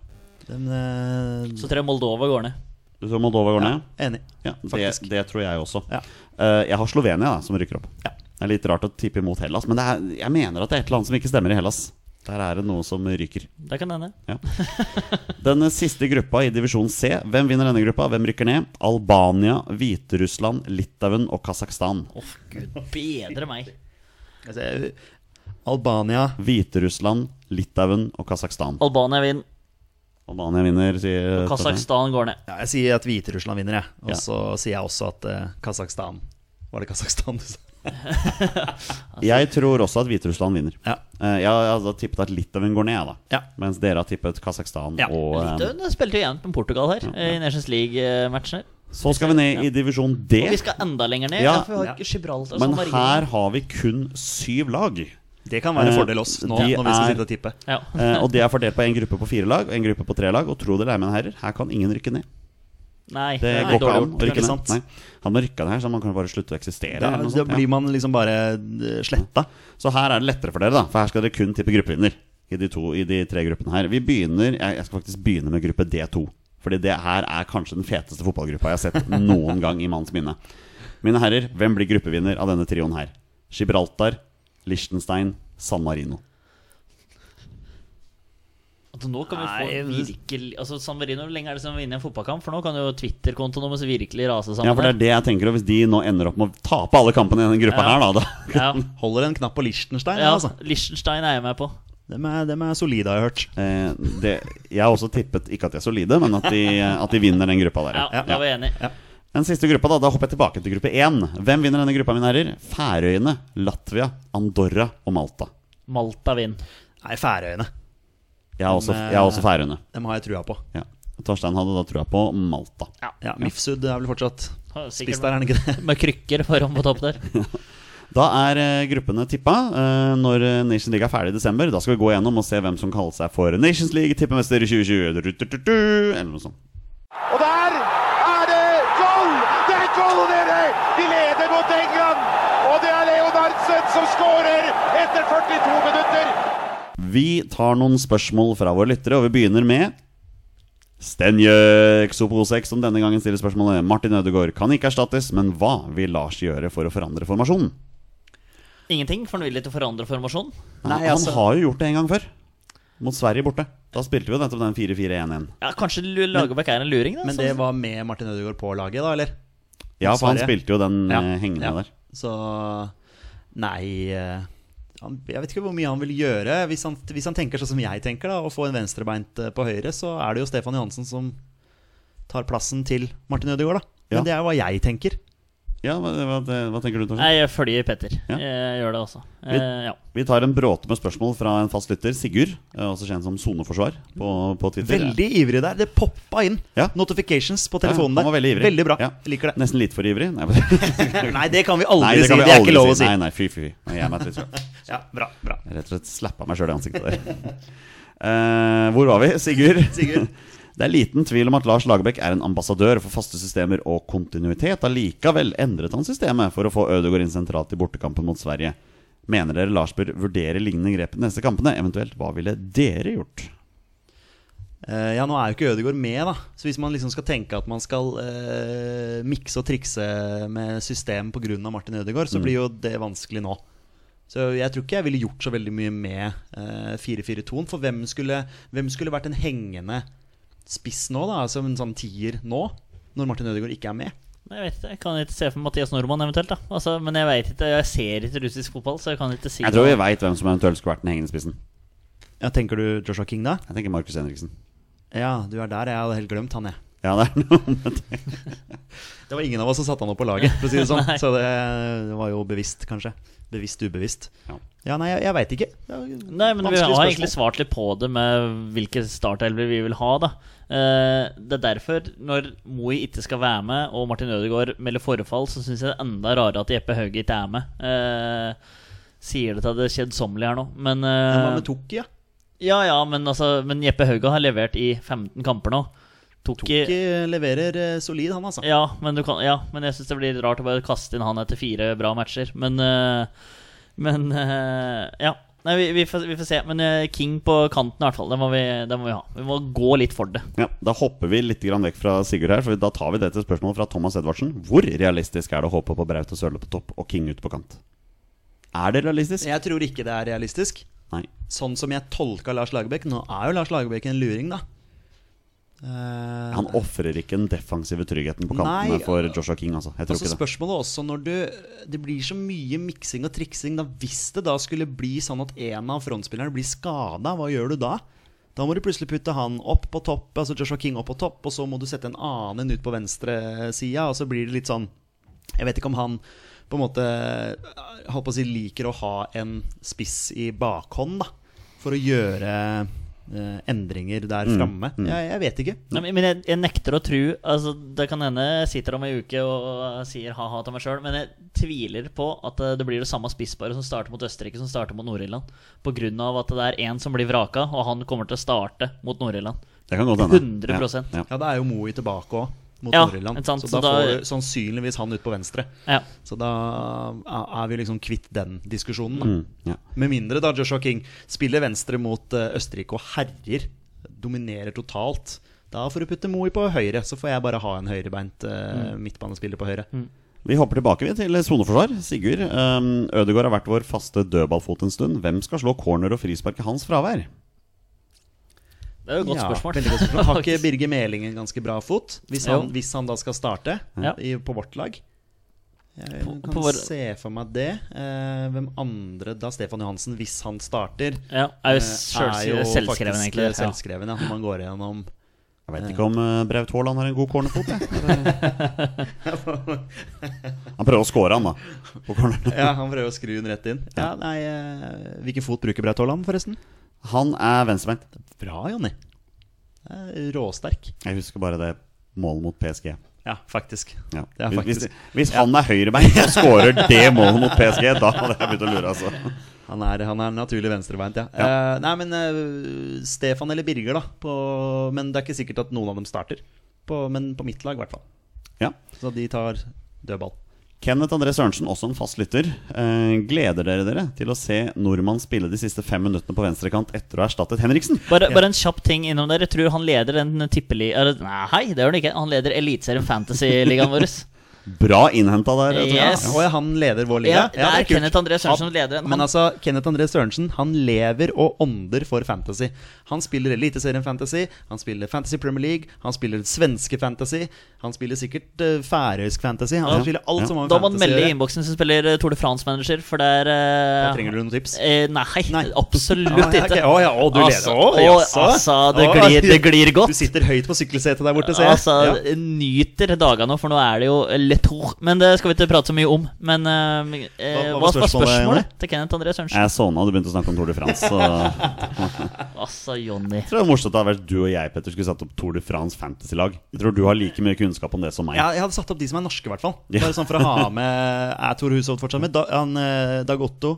Speaker 1: Dem, eh,
Speaker 3: Så tror jeg Moldova går ned.
Speaker 2: Du tror Moldova går ned?
Speaker 1: enig.
Speaker 2: Ja, det,
Speaker 1: Faktisk.
Speaker 2: det tror jeg også.
Speaker 1: Ja.
Speaker 2: Eh, jeg har Slovenia da, som rykker opp.
Speaker 1: Ja.
Speaker 2: Det er litt rart å tippe imot Hellas, men det er, jeg mener at det er et eller annet som ikke stemmer i Hellas. Der er det noe som ryker.
Speaker 3: Det kan hende.
Speaker 2: Den siste gruppa i divisjon C. Hvem vinner denne gruppa? Hvem rykker ned? Albania, Hviterussland, Litauen og Kasakhstan.
Speaker 3: Åh, gud bedre meg.
Speaker 1: Altså, jeg- Albania
Speaker 2: Hviterussland, Litauen og Kasakhstan.
Speaker 3: Albania vinner.
Speaker 2: Albania vinner, sier
Speaker 3: Kasakhstan går ned.
Speaker 1: ja, Jeg sier at Hviterussland vinner, jeg. Og
Speaker 2: Ja.
Speaker 1: så sier jeg også at eh, Kasakhstan Var det Kasakhstan du sa?
Speaker 2: Torstein. Jeg tror også at Hviterussland vinner.
Speaker 1: Ja.
Speaker 2: Eh, Jeg har altså tippet at Litauen går ned, da.
Speaker 1: Ja.
Speaker 2: Mens dere har tippet Kasakhstan
Speaker 1: Ja,
Speaker 2: og eh,
Speaker 3: Litauen spilte jo jevnt med Portugal her eh, i Nations League-matchen.
Speaker 2: Så skal vi ned i divisjon D.
Speaker 3: Og vi skal enda lenger ned.
Speaker 2: Ja.
Speaker 3: Ja, for vi har ikke Gibraltar og
Speaker 2: Men
Speaker 3: San Marino.
Speaker 2: her har vi kun syv lag.
Speaker 1: Det kan være en
Speaker 2: Eh,
Speaker 1: fordel oss nå,
Speaker 2: de
Speaker 1: når vi skal
Speaker 2: er-
Speaker 1: sitte og tippe.
Speaker 3: ja.
Speaker 2: Eh, Og det er fordelt på en gruppe på fire lag og en gruppe på tre lag. Og tro det eller ei, mine herrer, her kan ingen rykke ned.
Speaker 3: Nei,
Speaker 2: Det
Speaker 3: er
Speaker 2: går ikke
Speaker 3: dårlig
Speaker 2: an
Speaker 3: gjort.
Speaker 2: å rykke
Speaker 1: ikke
Speaker 2: ned.
Speaker 1: sant?
Speaker 2: Nei. Han må rykke ned her, så man kan bare slutte å eksistere.
Speaker 1: Da,
Speaker 2: eller noe
Speaker 1: da
Speaker 2: sånt,
Speaker 1: blir man liksom bare eh, sletta.
Speaker 2: ja. Så her er det lettere for dere, da. For her skal dere kun tippe gruppevinner i de, to, i de tre gruppene her. Vi begynner, jeg, jeg skal faktisk begynne med gruppe D2. Fordi det her er kanskje den feteste fotballgruppa jeg har sett noen gang i manns minne. Mine herrer, hvem blir gruppevinner av denne trioen her? Gibraltar, Liechtenstein, San Marino.
Speaker 3: Altså, nå kan vi få
Speaker 1: Nei,
Speaker 3: virkelig Altså, San Marino, hvor lenge er det siden vi vinner en fotballkamp? For nå kan jo Twitter-kontoen deres virkelig rase sammen.
Speaker 2: Ja, for det er det jeg tenker, og hvis de nå ender opp med å tape alle kampene i denne gruppa
Speaker 3: Ja.
Speaker 2: her, da, da
Speaker 3: ja.
Speaker 1: Holder en knapp på Liechtenstein,
Speaker 3: ja,
Speaker 1: altså.
Speaker 3: Liechtenstein er jeg med på.
Speaker 1: Dem er, dem er solide, har jeg hørt.
Speaker 2: eh, det, Jeg har også tippet, ikke at de er solide, men at de, at de vinner den gruppa der.
Speaker 3: Ja,
Speaker 1: Ja.
Speaker 3: da var jeg enig.
Speaker 2: Den siste gruppa, da. Da hopper jeg tilbake til gruppe én. Hvem vinner denne gruppa, mine herrer? Færøyene, Latvia, Andorra og Malta.
Speaker 3: Malta vinner.
Speaker 1: Nei, Færøyene.
Speaker 2: Jeg har også, jeg har også Færøyene.
Speaker 1: Dem har jeg trua på.
Speaker 2: Ja. Torstein hadde da trua på Malta.
Speaker 1: Ja, Mifsud er vel fortsatt
Speaker 3: Har jo
Speaker 1: spiss
Speaker 3: Sikkert
Speaker 1: der, er han ikke det?
Speaker 3: med krykker foran på topp der.
Speaker 2: Da er eh, gruppene tippa. Eh, når eh, Nations League er ferdig i desember, da skal vi gå gjennom og se hvem som kaller seg for Nations League tippemester i 2020. Du, du, du, du, eller noe sånt.
Speaker 4: Og der er det goal! Det er goal, dere! De leder mot England. Og det er Leo Darmstedt som skårer etter 42 minutter.
Speaker 2: Vi tar noen spørsmål fra våre lyttere, og vi begynner med Stenjøk Sopo6, som denne gangen stiller spørsmålet Martin Ødegaard kan ikke erstattes, men hva vil Lars gjøre for å forandre formasjonen?
Speaker 3: Ingenting, for han vil ikke forandre formasjon.
Speaker 2: Nei, han
Speaker 1: altså-
Speaker 2: har jo gjort det en gang før. Mot Sverige borte. Da spilte vi jo nettopp den 4-4-1-1.
Speaker 3: Ja, Kanskje Lu- Lagerbäck er en luring, da?
Speaker 1: Men
Speaker 3: sånn
Speaker 1: det
Speaker 3: sett.
Speaker 1: var med Martin Ødegaard på laget, da, eller?
Speaker 2: Ja, for han
Speaker 1: Sverige.
Speaker 2: spilte jo den
Speaker 1: Ja,
Speaker 2: eh, hengende
Speaker 1: ja.
Speaker 2: der.
Speaker 1: Så Nei eh, han, Jeg vet ikke hvor mye han vil gjøre. Hvis han, hvis han tenker sånn som jeg tenker, da, å få en venstrebeint eh, på høyre, så er det jo Stefan Johansen som tar plassen til Martin Ødegaard, da. Men
Speaker 2: Ja.
Speaker 1: det er hva jeg tenker.
Speaker 2: Ja, hva, hva, hva tenker du, Torstein?
Speaker 3: Nei, jeg følger Petter.
Speaker 2: Ja.
Speaker 3: Jeg gjør det, altså. Eh,
Speaker 2: Litt-
Speaker 3: ja.
Speaker 2: Vi tar en bråte med spørsmål fra en fast lytter, Sigurd. eh, Også kjent som soneforsvar på, på Twitter.
Speaker 1: Veldig ivrig der. Det poppa inn
Speaker 2: Ja.
Speaker 1: notifications på telefonen
Speaker 2: Ja,
Speaker 1: der.
Speaker 2: han var veldig ivrig.
Speaker 1: bra.
Speaker 2: Ja.
Speaker 1: Jeg liker det.
Speaker 2: Nesten litt for ivrig. Nei, nei
Speaker 1: Nei, det kan vi aldri
Speaker 2: det
Speaker 1: si.
Speaker 2: kan vi
Speaker 1: det er
Speaker 2: aldri
Speaker 1: ikke lov å si.
Speaker 2: Nei, nei, fy, fy, fy. Nei, jeg er meg et litt sånn.
Speaker 1: Ja, bra, bra.
Speaker 2: Jeg rett og slett slappa meg sjøl i ansiktet der. Eh, hvor var vi? Sigurd?
Speaker 1: Sigurd.
Speaker 2: Det er liten tvil om at Lars Lagerbäck er en ambassadør for faste systemer og kontinuitet. Allikevel endret han systemet for å få Ødegaard inn sentralt i bortekampen mot Sverige. Mener dere Lars bør vurdere lignende grep de neste kampene? Eventuelt, hva ville dere gjort?
Speaker 1: Eh, ja, nå er jo ikke Ødegaard med, da. Så hvis man liksom skal tenke at man skal eh, mikse og trikse med system pga. Martin Ødegaard, så blir jo det vanskelig nå. Så jeg tror ikke jeg ville gjort så veldig mye med eh, 4-4-2-en. For hvem skulle, hvem skulle vært en hengende spiss nå, da? Altså en sånn tier nå? Når Martin Ødegaard ikke er med?
Speaker 3: Men Jeg vet ikke, jeg kan ikke se for meg Mathias Nordmann eventuelt, da. Altså, men jeg vet ikke, jeg ser ikke russisk fotball, så jeg kan ikke si
Speaker 2: Jeg tror vi
Speaker 3: det.
Speaker 2: veit hvem som eventuelt skulle vært den hengende spissen.
Speaker 1: Ja, Tenker du Joshua King, da?
Speaker 2: Jeg tenker Markus Henriksen.
Speaker 1: Ja, du er der. Jeg hadde helt glemt han, jeg.
Speaker 2: Ja, det er noe med det.
Speaker 1: Det var ingen av oss som satte han opp på laget, for å si det sånn. så det, det var jo bevisst, kanskje. Bevisst ubevisst.
Speaker 2: Ja.
Speaker 1: Ja, nei, jeg, jeg veit ikke. Det er jo
Speaker 3: Nei, men vi
Speaker 1: vanskelig
Speaker 3: har
Speaker 1: spørsmål.
Speaker 3: egentlig svart litt på det med hvilke startelver vi vil ha, da. Eh, Det er derfor, når Moi ikke skal være med, og Martin Ødegaard melder forfall, så syns jeg det er enda rarere at Jeppe Hauge ikke er med. Eh, Sier det til det kjedsommelige her nå, men eh,
Speaker 1: Men Hva med Toki, ja?
Speaker 3: Ja ja, men, altså, men Jeppe Hauge har levert i 15 kamper nå. Tok, i-
Speaker 1: Toki leverer eh, solid, han altså.
Speaker 3: Ja, men, du kan, ja, men jeg syns det blir litt rart å bare kaste inn han etter fire bra matcher. Men, eh, men eh, Ja. Nei, vi, vi, får, vi får se. Men eh, King på kanten, i hvert fall. Det må, vi, det må vi ha. Vi må gå litt for det.
Speaker 2: Ja, da hopper vi litt grann vekk fra Sigurd her, for da tar vi det til spørsmålet fra Thomas Edvardsen. Hvor realistisk er det å håpe på Braut og Sørloth på topp og King ut på kant? Er det realistisk?
Speaker 1: Jeg tror ikke det er realistisk.
Speaker 2: Nei.
Speaker 1: Sånn som jeg tolka Lars Lagerbäck Nå er jo Lars Lagerbäck en luring, da. Eh,
Speaker 2: Han ofrer ikke den defensive tryggheten på
Speaker 1: Nei,
Speaker 2: kantene for Joshua King, altså. Jeg
Speaker 1: og
Speaker 2: tror
Speaker 1: så
Speaker 2: ikke det.
Speaker 1: spørsmålet også når du Det blir så mye miksing og triksing. Da Hvis det da skulle bli sånn at en av frontspillerne blir skada, hva gjør du da? Da må du plutselig putte han opp på topp, altså Joshua King opp på topp, og så må du sette en annen en ut på venstresida, og så blir det litt sånn Jeg vet ikke om han på en måte holdt på å si, liker å ha en spiss i bakhånd, da. For å gjøre eh, endringer der
Speaker 2: Mm.
Speaker 1: framme. Jeg, jeg vet ikke.
Speaker 3: Nei, men- men jeg, jeg nekter å tro altså, Det kan hende jeg sitter om ei uke og sier ha-ha til meg sjøl, men jeg tviler på at eh, det blir det samme spissparet som starter mot Østerrike, som starter mot Nord-Irland. På grunn av at det er én som blir vraka, og han kommer til å starte mot Nord-Irland.
Speaker 2: Det kan godt hende.
Speaker 3: 100%.
Speaker 2: Ja, ja.
Speaker 1: Ja, da er jo Moe tilbake òg, mot
Speaker 3: Ja,
Speaker 1: Nord-Irland.
Speaker 3: ikke sant,
Speaker 1: Så,
Speaker 3: så
Speaker 1: da får
Speaker 3: da-
Speaker 1: du sannsynligvis han ut på venstre.
Speaker 3: Ja.
Speaker 1: Så da er vi liksom kvitt den diskusjonen. Da.
Speaker 2: Mm, ja.
Speaker 1: Med mindre da Joshua King spiller venstre mot eh, Østerrike og herjer. Dominerer
Speaker 3: Mm.
Speaker 1: totalt. Da får du putte Moe på høyre, så får jeg bare ha en høyrebeint eh, midtbanespiller på høyre.
Speaker 2: Vi hopper tilbake vi til soneforsvar. Sigurd, um, Ødegaard har vært vår faste dødballfot en stund. Hvem skal slå corner og frispark i hans fravær?
Speaker 3: Det er jo et godt
Speaker 1: Ja,
Speaker 3: spørsmål.
Speaker 1: veldig godt spørsmål. Har ikke Birger Meling en ganske bra fot? Hvis
Speaker 3: Jo.
Speaker 1: han, hvis han da skal starte
Speaker 3: Ja.
Speaker 1: i, på vårt lag? Jeg
Speaker 3: På-
Speaker 1: kan
Speaker 3: på vår-
Speaker 1: se for meg det. Eh, hvem andre da? Stefan Johansen, hvis han starter.
Speaker 3: ja, er jo
Speaker 1: eh,
Speaker 3: selv,
Speaker 1: faktisk,
Speaker 3: selvskreven, egentlig.
Speaker 1: eh, Selvskreven, ja. Når man går gjennom
Speaker 2: Jeg vet ikke om uh, Braut Haaland har en god cornerfot. Jeg. Han prøver å score, han, da. På cornerne.
Speaker 1: Ja, han prøver å skru den rett inn. Ja, nei, eh, Hvilken fot bruker Braut Haaland, forresten?
Speaker 2: Han er venstrebeint.
Speaker 1: Bra, Jonny. Eh, Råsterk.
Speaker 2: Jeg husker bare det målet mot PSG.
Speaker 1: Ja, faktisk.
Speaker 2: Ja.
Speaker 1: Det er
Speaker 2: Hvis,
Speaker 1: faktisk
Speaker 2: hvis, hvis han er høyrebeint og scorer det målet mot PSG, da hadde jeg begynt å lure, altså.
Speaker 1: Han er, han er naturlig venstrebeint, ja. Eh, nei, men eh, Stefan eller Birger, da. På, men det er ikke sikkert at noen av dem starter. På, men på mitt lag, i hvert fall.
Speaker 2: Ja.
Speaker 1: Så de tar dødball.
Speaker 2: Kenneth André Sørensen, også en fast lytter. Eh, gleder dere dere til å se nordmann spille de siste fem minuttene på venstrekant etter å ha erstattet Henriksen?
Speaker 3: Bare, bare en kjapp ting innom der. Jeg tror han leder den tippeli... eller- Nei, hei, det gjør han ikke. Han leder Eliteserien Fantasy-ligaen vår.
Speaker 2: Bra innhenta der. tror jeg.
Speaker 3: Yes.
Speaker 1: Å ja, han leder vår liga?
Speaker 3: Ja, det er
Speaker 1: kult.
Speaker 3: Kenneth André Sørensen som leder den.
Speaker 1: Men
Speaker 3: Han-
Speaker 1: altså, Kenneth André Sørensen han lever og ånder for fantasy. Han spiller Eliteserien Fantasy, han spiller Fantasy Premier League, han spiller svenske Fantasy, han spiller sikkert eh, færøysk Fantasy. Han spiller alt som har med
Speaker 3: Da må han
Speaker 1: fantasy å
Speaker 3: melde i
Speaker 1: gjøre.
Speaker 3: innboksen som spiller eh, Tour de France-manager, for det er
Speaker 1: Da
Speaker 3: eh,
Speaker 1: Trenger du noen tips?
Speaker 3: Eh, nei,
Speaker 1: Nei.
Speaker 3: absolutt
Speaker 1: ja,
Speaker 3: ikke.
Speaker 1: ok. Å, ja, å, du leder.
Speaker 3: Altså,
Speaker 1: Å,
Speaker 3: å,
Speaker 1: jaså.
Speaker 3: altså, det
Speaker 1: Å,
Speaker 3: glir- det glir godt.
Speaker 1: Du sitter høyt på sykkelsetet der borte, ser jeg.
Speaker 3: Altså,
Speaker 1: Ja.
Speaker 3: Nyter dagene, for nå er det jo Le Tour. Men det skal vi ikke prate så mye om. Men eh, eh, hva
Speaker 1: Hva- hva var
Speaker 3: var
Speaker 1: spørsmålet, Jonny?
Speaker 3: spørsmålet til Kenneth André Sørensen?
Speaker 2: Jeg sovna og du begynte å snakke om Tour de France. Så jeg
Speaker 3: Altså, Jonny.
Speaker 2: tror det var morsomt at det hadde vært du og jeg Petter, skulle satt opp Tour de France fantasy-lag. Jeg tror du har like mye kunnskap om det som meg.
Speaker 1: Ja, jeg hadde satt opp de som er norske, i hvert fall.
Speaker 2: Ja.
Speaker 1: Bare sånn for å ha med Er Tor Hushovd fortsatt med? Da, han, eh, Dag Otto.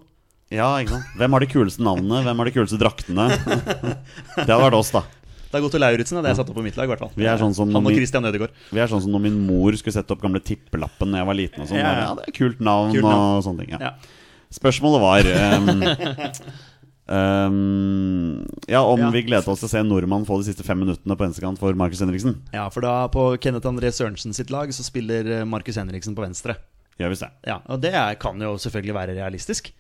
Speaker 2: Ja, ikke sant? Hvem har de kuleste navnene? Hvem har de kuleste draktene? Det hadde vært oss, da.
Speaker 1: Dag Otto Lauritzen hadde jeg satt opp på mitt lag, i hvert fall.
Speaker 2: Vi er sånn som
Speaker 1: han og
Speaker 2: vi-
Speaker 1: Christian Ødegaard.
Speaker 2: Vi er sånn som når min mor skulle sette opp gamle tippelappen Når jeg var liten. og sånn
Speaker 1: Ja,
Speaker 2: Ja,
Speaker 1: ja.
Speaker 2: det er kult navn,
Speaker 1: Kult navn.
Speaker 2: og sånne ting. Ja.
Speaker 1: Ja.
Speaker 2: Spørsmålet var ehm, ehm, Ja, om
Speaker 1: Ja.
Speaker 2: vi gledet oss til å se en nordmann få de siste fem minuttene på venstrekant for Markus Henriksen.
Speaker 1: Ja, for da på Kenneth André Sørensen sitt lag så spiller eh, Markus Henriksen på venstre.
Speaker 2: Gjør visst det.
Speaker 1: Ja, Og det er, kan jo selvfølgelig være realistisk.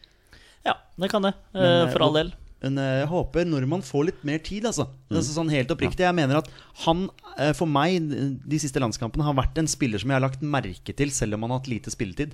Speaker 3: Ja, det kan det. eh,
Speaker 1: Men, eh,
Speaker 3: for all del.
Speaker 1: Men eh, jeg håper nordmann får litt mer tid, altså.
Speaker 3: Mm.
Speaker 1: altså sånn helt oppriktig. Jeg mener at han, eh, for meg, de siste landskampene har vært en spiller som jeg har lagt merke til, selv om han har hatt lite spilletid.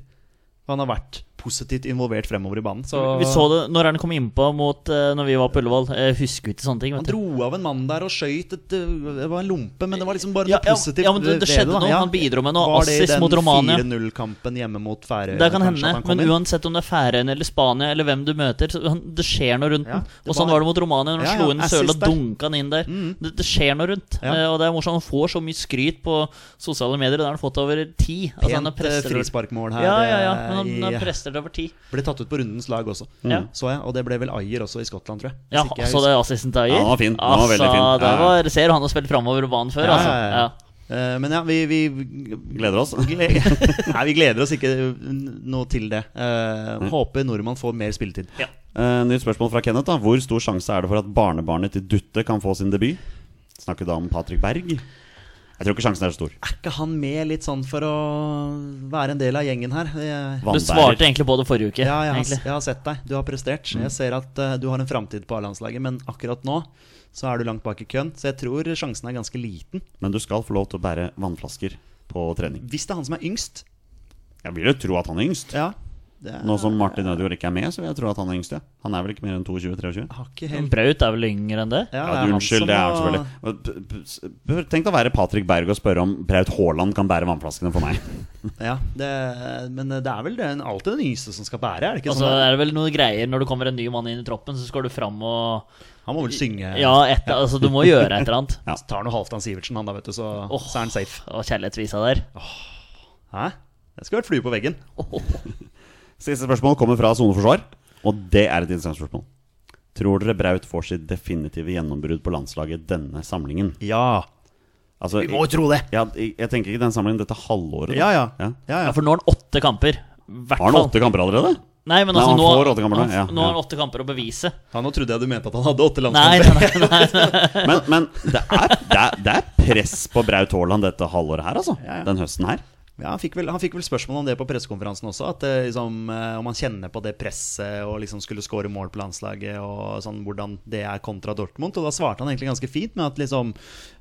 Speaker 1: For Han har vært positivt involvert fremover i banen. Så
Speaker 3: Vi så det når han kom innpå mot eh, Når vi var på Ullevål. Jeg husker jo ikke sånne ting.
Speaker 1: han
Speaker 3: Vet du.
Speaker 1: dro av en mann der og skøyt et eh, Det var en lompe, men det var liksom bare
Speaker 3: Ja,
Speaker 1: noe
Speaker 3: ja,
Speaker 1: positivt.
Speaker 3: ja, men det- det
Speaker 1: ved
Speaker 3: skjedde
Speaker 1: da.
Speaker 3: noe. Han bidro med noe
Speaker 1: Var det i
Speaker 3: assist mot Romania.
Speaker 1: Den 4-0-kampen hjemme mot Færøyene.
Speaker 3: Det kan
Speaker 1: kanskje
Speaker 3: hende,
Speaker 1: at han kom
Speaker 3: men
Speaker 1: inn?
Speaker 3: uansett om det er Færøyene eller Spania eller hvem du møter, så han, det skjer noe rundt
Speaker 1: Ja,
Speaker 3: den.
Speaker 1: det
Speaker 3: Og sånn var
Speaker 1: var-
Speaker 3: det mot Romania, når han
Speaker 1: Ja, ja,
Speaker 3: slo inn søla og
Speaker 1: assist der.
Speaker 3: dunka han inn der. Det, det skjer noe rundt.
Speaker 1: Mm. Ja.
Speaker 3: Eh, og det er morsomt. Han får så mye skryt på sosiale medier, og det har han fått over ti. Altså, han har
Speaker 1: Pent eh,
Speaker 3: presset over-
Speaker 1: frisparkmål her.
Speaker 3: Ja, ja, ja.
Speaker 1: eh,
Speaker 3: Men han,
Speaker 1: i-
Speaker 3: han presser det over ti.
Speaker 1: Ble tatt ut på rundens lag også,
Speaker 3: Mm. Ja.
Speaker 1: så jeg. Og det ble vel Ayer også i Skottland, tror jeg. Hvis
Speaker 3: Ja,
Speaker 1: ikke jeg
Speaker 3: så det assisten til Ayer?
Speaker 2: Ja, den var fin. Den var veldig fin.
Speaker 3: Altså,
Speaker 2: Ja,
Speaker 3: det
Speaker 2: ja.
Speaker 3: var, ser du han har spilt framover på banen før,
Speaker 1: Ja,
Speaker 3: altså.
Speaker 1: ja, ja.
Speaker 3: Ja.
Speaker 1: Eh, men ja, vi, vi
Speaker 2: Gleder oss.
Speaker 1: gle- Nei, vi gleder oss ikke n- noe til det. Eh,
Speaker 3: Mm.
Speaker 1: Håper nordmann får mer spilletid.
Speaker 2: Eh, nytt spørsmål fra Kenneth. da Hvor stor sjanse er det for at barnebarnet til Dutte kan få sin debut? Snakker da om Patrick Berg. Jeg tror ikke sjansen er så stor.
Speaker 1: Er ikke han med litt sånn for å være en del av gjengen her? Jeg,
Speaker 3: Du svarte egentlig på det forrige uke.
Speaker 1: ja, jeg har,
Speaker 3: egentlig. Mm.
Speaker 1: jeg har sett deg. Du har prestert. Jeg ser at eh, du har en framtid på A-landslaget, men akkurat nå så er du langt bak i køen. Så jeg tror sjansen er ganske liten.
Speaker 2: Men du skal få lov til å bære vannflasker på trening.
Speaker 1: Hvis det er han som er yngst,
Speaker 2: Jeg vil jo tro at han er yngst.
Speaker 1: ja. Det er,
Speaker 2: Nå som Martin Ødegaard ikke er med, så vil jeg tro at han er yngst. Ja. Han er vel ikke mer enn 22-23?
Speaker 1: har ikke helt
Speaker 3: Braut er vel yngre enn det?
Speaker 1: Ja,
Speaker 2: Ja,
Speaker 1: det er
Speaker 2: du,
Speaker 1: han
Speaker 2: unnskyld,
Speaker 1: som
Speaker 2: det er han
Speaker 1: må-
Speaker 2: selvfølgelig. Men p- p- s- p- Tenk deg å være Patrick Berg og spørre om Braut Haaland kan bære vannflaskene for meg.
Speaker 1: Ja, det, men det er vel den, alltid den yngste som skal bære, er det ikke?
Speaker 3: Og så
Speaker 1: sånn?
Speaker 3: Altså, er det vel noen greier når det kommer en ny mann inn i troppen, så skal du fram og
Speaker 1: Han må vel synge
Speaker 3: Ja, et, altså du må gjøre et eller annet.
Speaker 2: Ja.
Speaker 1: Så tar noe Halvdan Sivertsen, han da, vet du, så,
Speaker 3: Åh.
Speaker 1: så er han safe.
Speaker 3: Og kjærlighetsvisa der.
Speaker 1: Hæ? Jeg skulle vært flue på veggen.
Speaker 2: Siste spørsmål kommer fra soneforsvar, og det er et interessant spørsmål. Tror dere Braut får sitt definitive gjennombrudd på landslaget denne samlingen?
Speaker 1: Ja,
Speaker 2: Altså,
Speaker 1: vi må jo tro det.
Speaker 2: ja, jeg, jeg tenker ikke den samlingen, dette halvåret. da.
Speaker 1: Ja, ja.
Speaker 2: Ja.
Speaker 1: ja,
Speaker 3: Ja,
Speaker 1: ja.
Speaker 3: for nå har han åtte kamper. Hvert
Speaker 2: Har han åtte kamper allerede?
Speaker 3: Nei, men
Speaker 2: Nei,
Speaker 3: altså,
Speaker 2: han
Speaker 3: nå,
Speaker 2: får åtte kamper nå,
Speaker 3: han-
Speaker 2: ja,
Speaker 3: nå har
Speaker 2: ja.
Speaker 3: han åtte kamper å bevise.
Speaker 1: Ja, nå trodde jeg du mente at han hadde åtte
Speaker 3: Nei,
Speaker 1: landskamper.
Speaker 3: nei, nei, nei,
Speaker 2: Men, men det, er, det, er, det er press på Braut Haaland dette halvåret her, altså. Den høsten her.
Speaker 1: Ja, han, fikk vel, han fikk vel spørsmål om det på pressekonferansen også. At eh, liksom, eh, Om han kjenner på det presset og liksom skulle skåre mål på landslaget, og sånn, hvordan det er kontra Dortmund. Og da svarte han egentlig ganske fint med at liksom,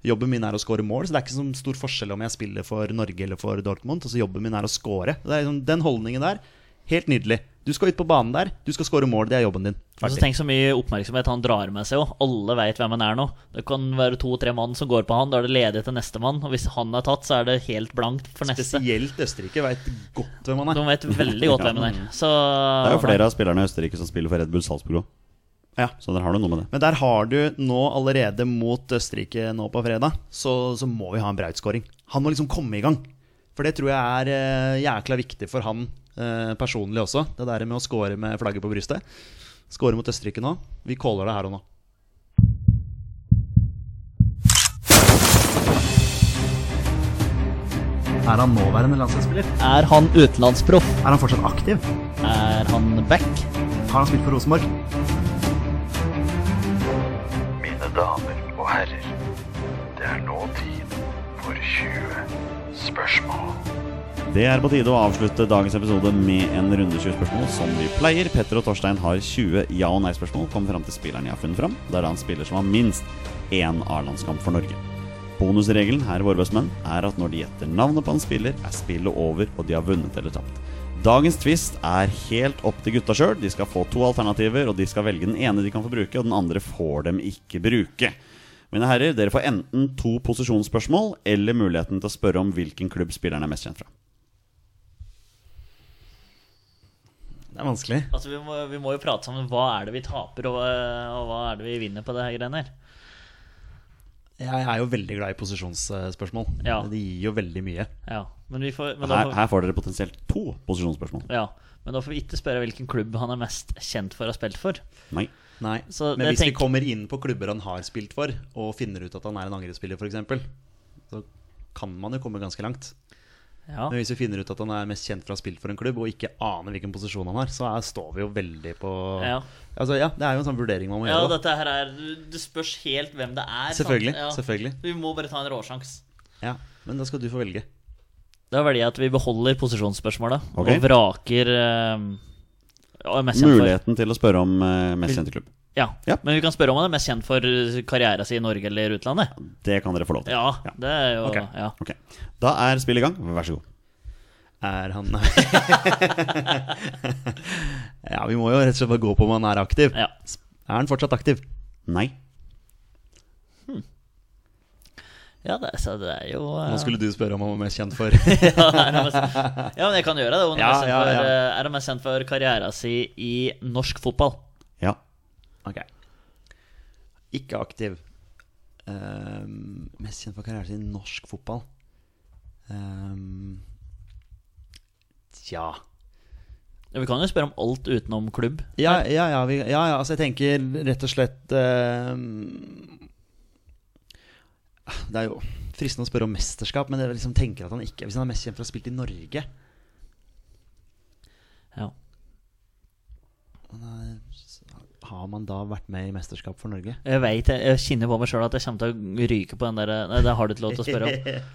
Speaker 1: jobben min er å skåre mål, så det er ikke så stor forskjell om jeg spiller for Norge eller for Dortmund. Altså, jobben min er å skåre. Det er liksom, den holdningen der, helt nydelig. Du skal ut på banen der, du skal skåre mål, det er jobben din.
Speaker 3: Og så
Speaker 1: Ferdig.
Speaker 3: Altså, Tenk så mye oppmerksomhet han drar med seg. Også. Alle vet hvem han er nå. Det kan være to-tre mann som går på han, da er det ledig til neste mann. Og hvis han er tatt, så er det helt blankt for neste.
Speaker 1: Spesielt Østerrike veit godt hvem han er.
Speaker 3: De vet veldig godt hvem han er. Så
Speaker 2: Det er jo flere av spillerne i Østerrike som spiller for Red Bull Salzburg òg.
Speaker 1: Ja.
Speaker 2: Så der har du noe med det.
Speaker 1: Men der har du nå allerede mot Østerrike nå på fredag, så, så må vi ha en brautskåring. Han må liksom komme i gang. For det tror jeg er eh, jækla viktig for han eh, personlig også. Det der med å score med flagget på brystet. Score mot Østerrike nå. Vi caller det her og nå. Er han nåværende landslagsspiller?
Speaker 3: Er han utenlandsproff?
Speaker 1: Er han fortsatt aktiv?
Speaker 3: Er han back?
Speaker 1: Har han spilt for Rosenborg?
Speaker 5: Mine damer og herrer, det er nå tid for 20 spørsmål.
Speaker 2: Det er på tide å avslutte dagens episode med en runde 20 spørsmål, som vi pleier. Petter og Torstein har 20 ja- og nei-spørsmål. Kommer fram til spilleren jeg har funnet fram. Det er da en spiller som har minst én A-landskamp for Norge. Bonusregelen her i Våre bestemenn er at når de gjetter navnet på en spiller, er spillet over, og de har vunnet eller tapt. Dagens twist er helt opp til gutta sjøl. De skal få to alternativer, og de skal velge den ene de kan få bruke, og den andre får dem ikke bruke. Mine herrer, dere får enten to posisjonsspørsmål eller muligheten til å spørre om hvilken klubb spilleren er mest kjent fra.
Speaker 1: Det er vanskelig.
Speaker 3: Altså, vi, må, vi må jo prate sammen. Hva er det vi taper, og, eh, og hva er det vi vinner på det her greiene her?
Speaker 1: Jeg er jo veldig glad i posisjonsspørsmål.
Speaker 3: Ja.
Speaker 1: Det gir jo veldig mye.
Speaker 3: Ja, men vi får, men da
Speaker 2: Her,
Speaker 3: får
Speaker 2: her får dere potensielt to posisjonsspørsmål.
Speaker 3: ja, men da får vi ikke spørre hvilken klubb han er mest kjent for å ha spilt for.
Speaker 2: Nei.
Speaker 1: Nei,
Speaker 3: Så
Speaker 1: men
Speaker 3: det
Speaker 1: hvis
Speaker 3: tenk-
Speaker 1: vi kommer inn på klubber han har spilt for, og finner ut at han er en angrepsspiller f.eks., så kan man jo komme ganske langt.
Speaker 3: Ja,
Speaker 1: Men hvis vi finner ut at han er mest kjent for å ha spilt for en klubb, og ikke aner hvilken posisjon han har, så er, står vi jo veldig på
Speaker 3: Ja.
Speaker 1: Altså, ja, Det er jo en sånn vurdering man må
Speaker 3: ja
Speaker 1: gjøre. da.
Speaker 3: dette her er du- Det spørs helt hvem det er. sant?
Speaker 1: Selvfølgelig,
Speaker 3: Ja.
Speaker 1: selvfølgelig.
Speaker 3: Vi må bare ta en råsjans.
Speaker 1: Ja, Men da skal du få velge.
Speaker 3: Da velger jeg at vi beholder posisjonsspørsmålet
Speaker 2: Ok.
Speaker 3: og vraker eh, ja, mest kjent for-
Speaker 2: Muligheten til å spørre om eh, mest kjente klubb.
Speaker 3: Ja.
Speaker 2: Ja.
Speaker 3: Men vi kan spørre om han er mest kjent for karriera si i Norge eller utlandet.
Speaker 2: Det kan dere få lov til.
Speaker 3: Ja,
Speaker 2: Ja.
Speaker 3: det er jo
Speaker 1: Ok.
Speaker 3: ja.
Speaker 2: Ok. Da er spillet i gang. Vær så god.
Speaker 1: Er han Nei. ja, vi må jo rett og slett bare gå på om han er aktiv.
Speaker 3: Ja.
Speaker 1: Er han fortsatt aktiv?
Speaker 2: Nei.
Speaker 3: ja, det, så det er jo eh,
Speaker 1: Nå skulle du spørre om han var mest kjent for
Speaker 3: ja, er han mest, ja, men jeg kan gjøre det. Om han
Speaker 1: Ja,
Speaker 3: er, mest kjent
Speaker 1: ja, ja.
Speaker 3: For, eh, er han mest kjent for karriera si i norsk fotball?
Speaker 2: Ja.
Speaker 1: Ok Ikke aktiv Ehm, Mest kjent for karrieren sin i norsk fotball Ehm, Tja
Speaker 3: Ja, Vi kan jo spørre om alt utenom klubb.
Speaker 1: ja, ja, ja, vi, ja, ja, altså jeg tenker rett og slett ehm, Det er jo fristende å spørre om mesterskap Men jeg liksom tenker at han ikke Hvis han er mest kjent for å ha spilt i Norge
Speaker 3: Ja.
Speaker 1: Har man da vært med i mesterskap for Norge?
Speaker 3: Jeg vet, jeg, jeg kjenner på meg sjøl at jeg kommer til å ryke på den der eh, Nei, det har du ikke lov til å spørre om.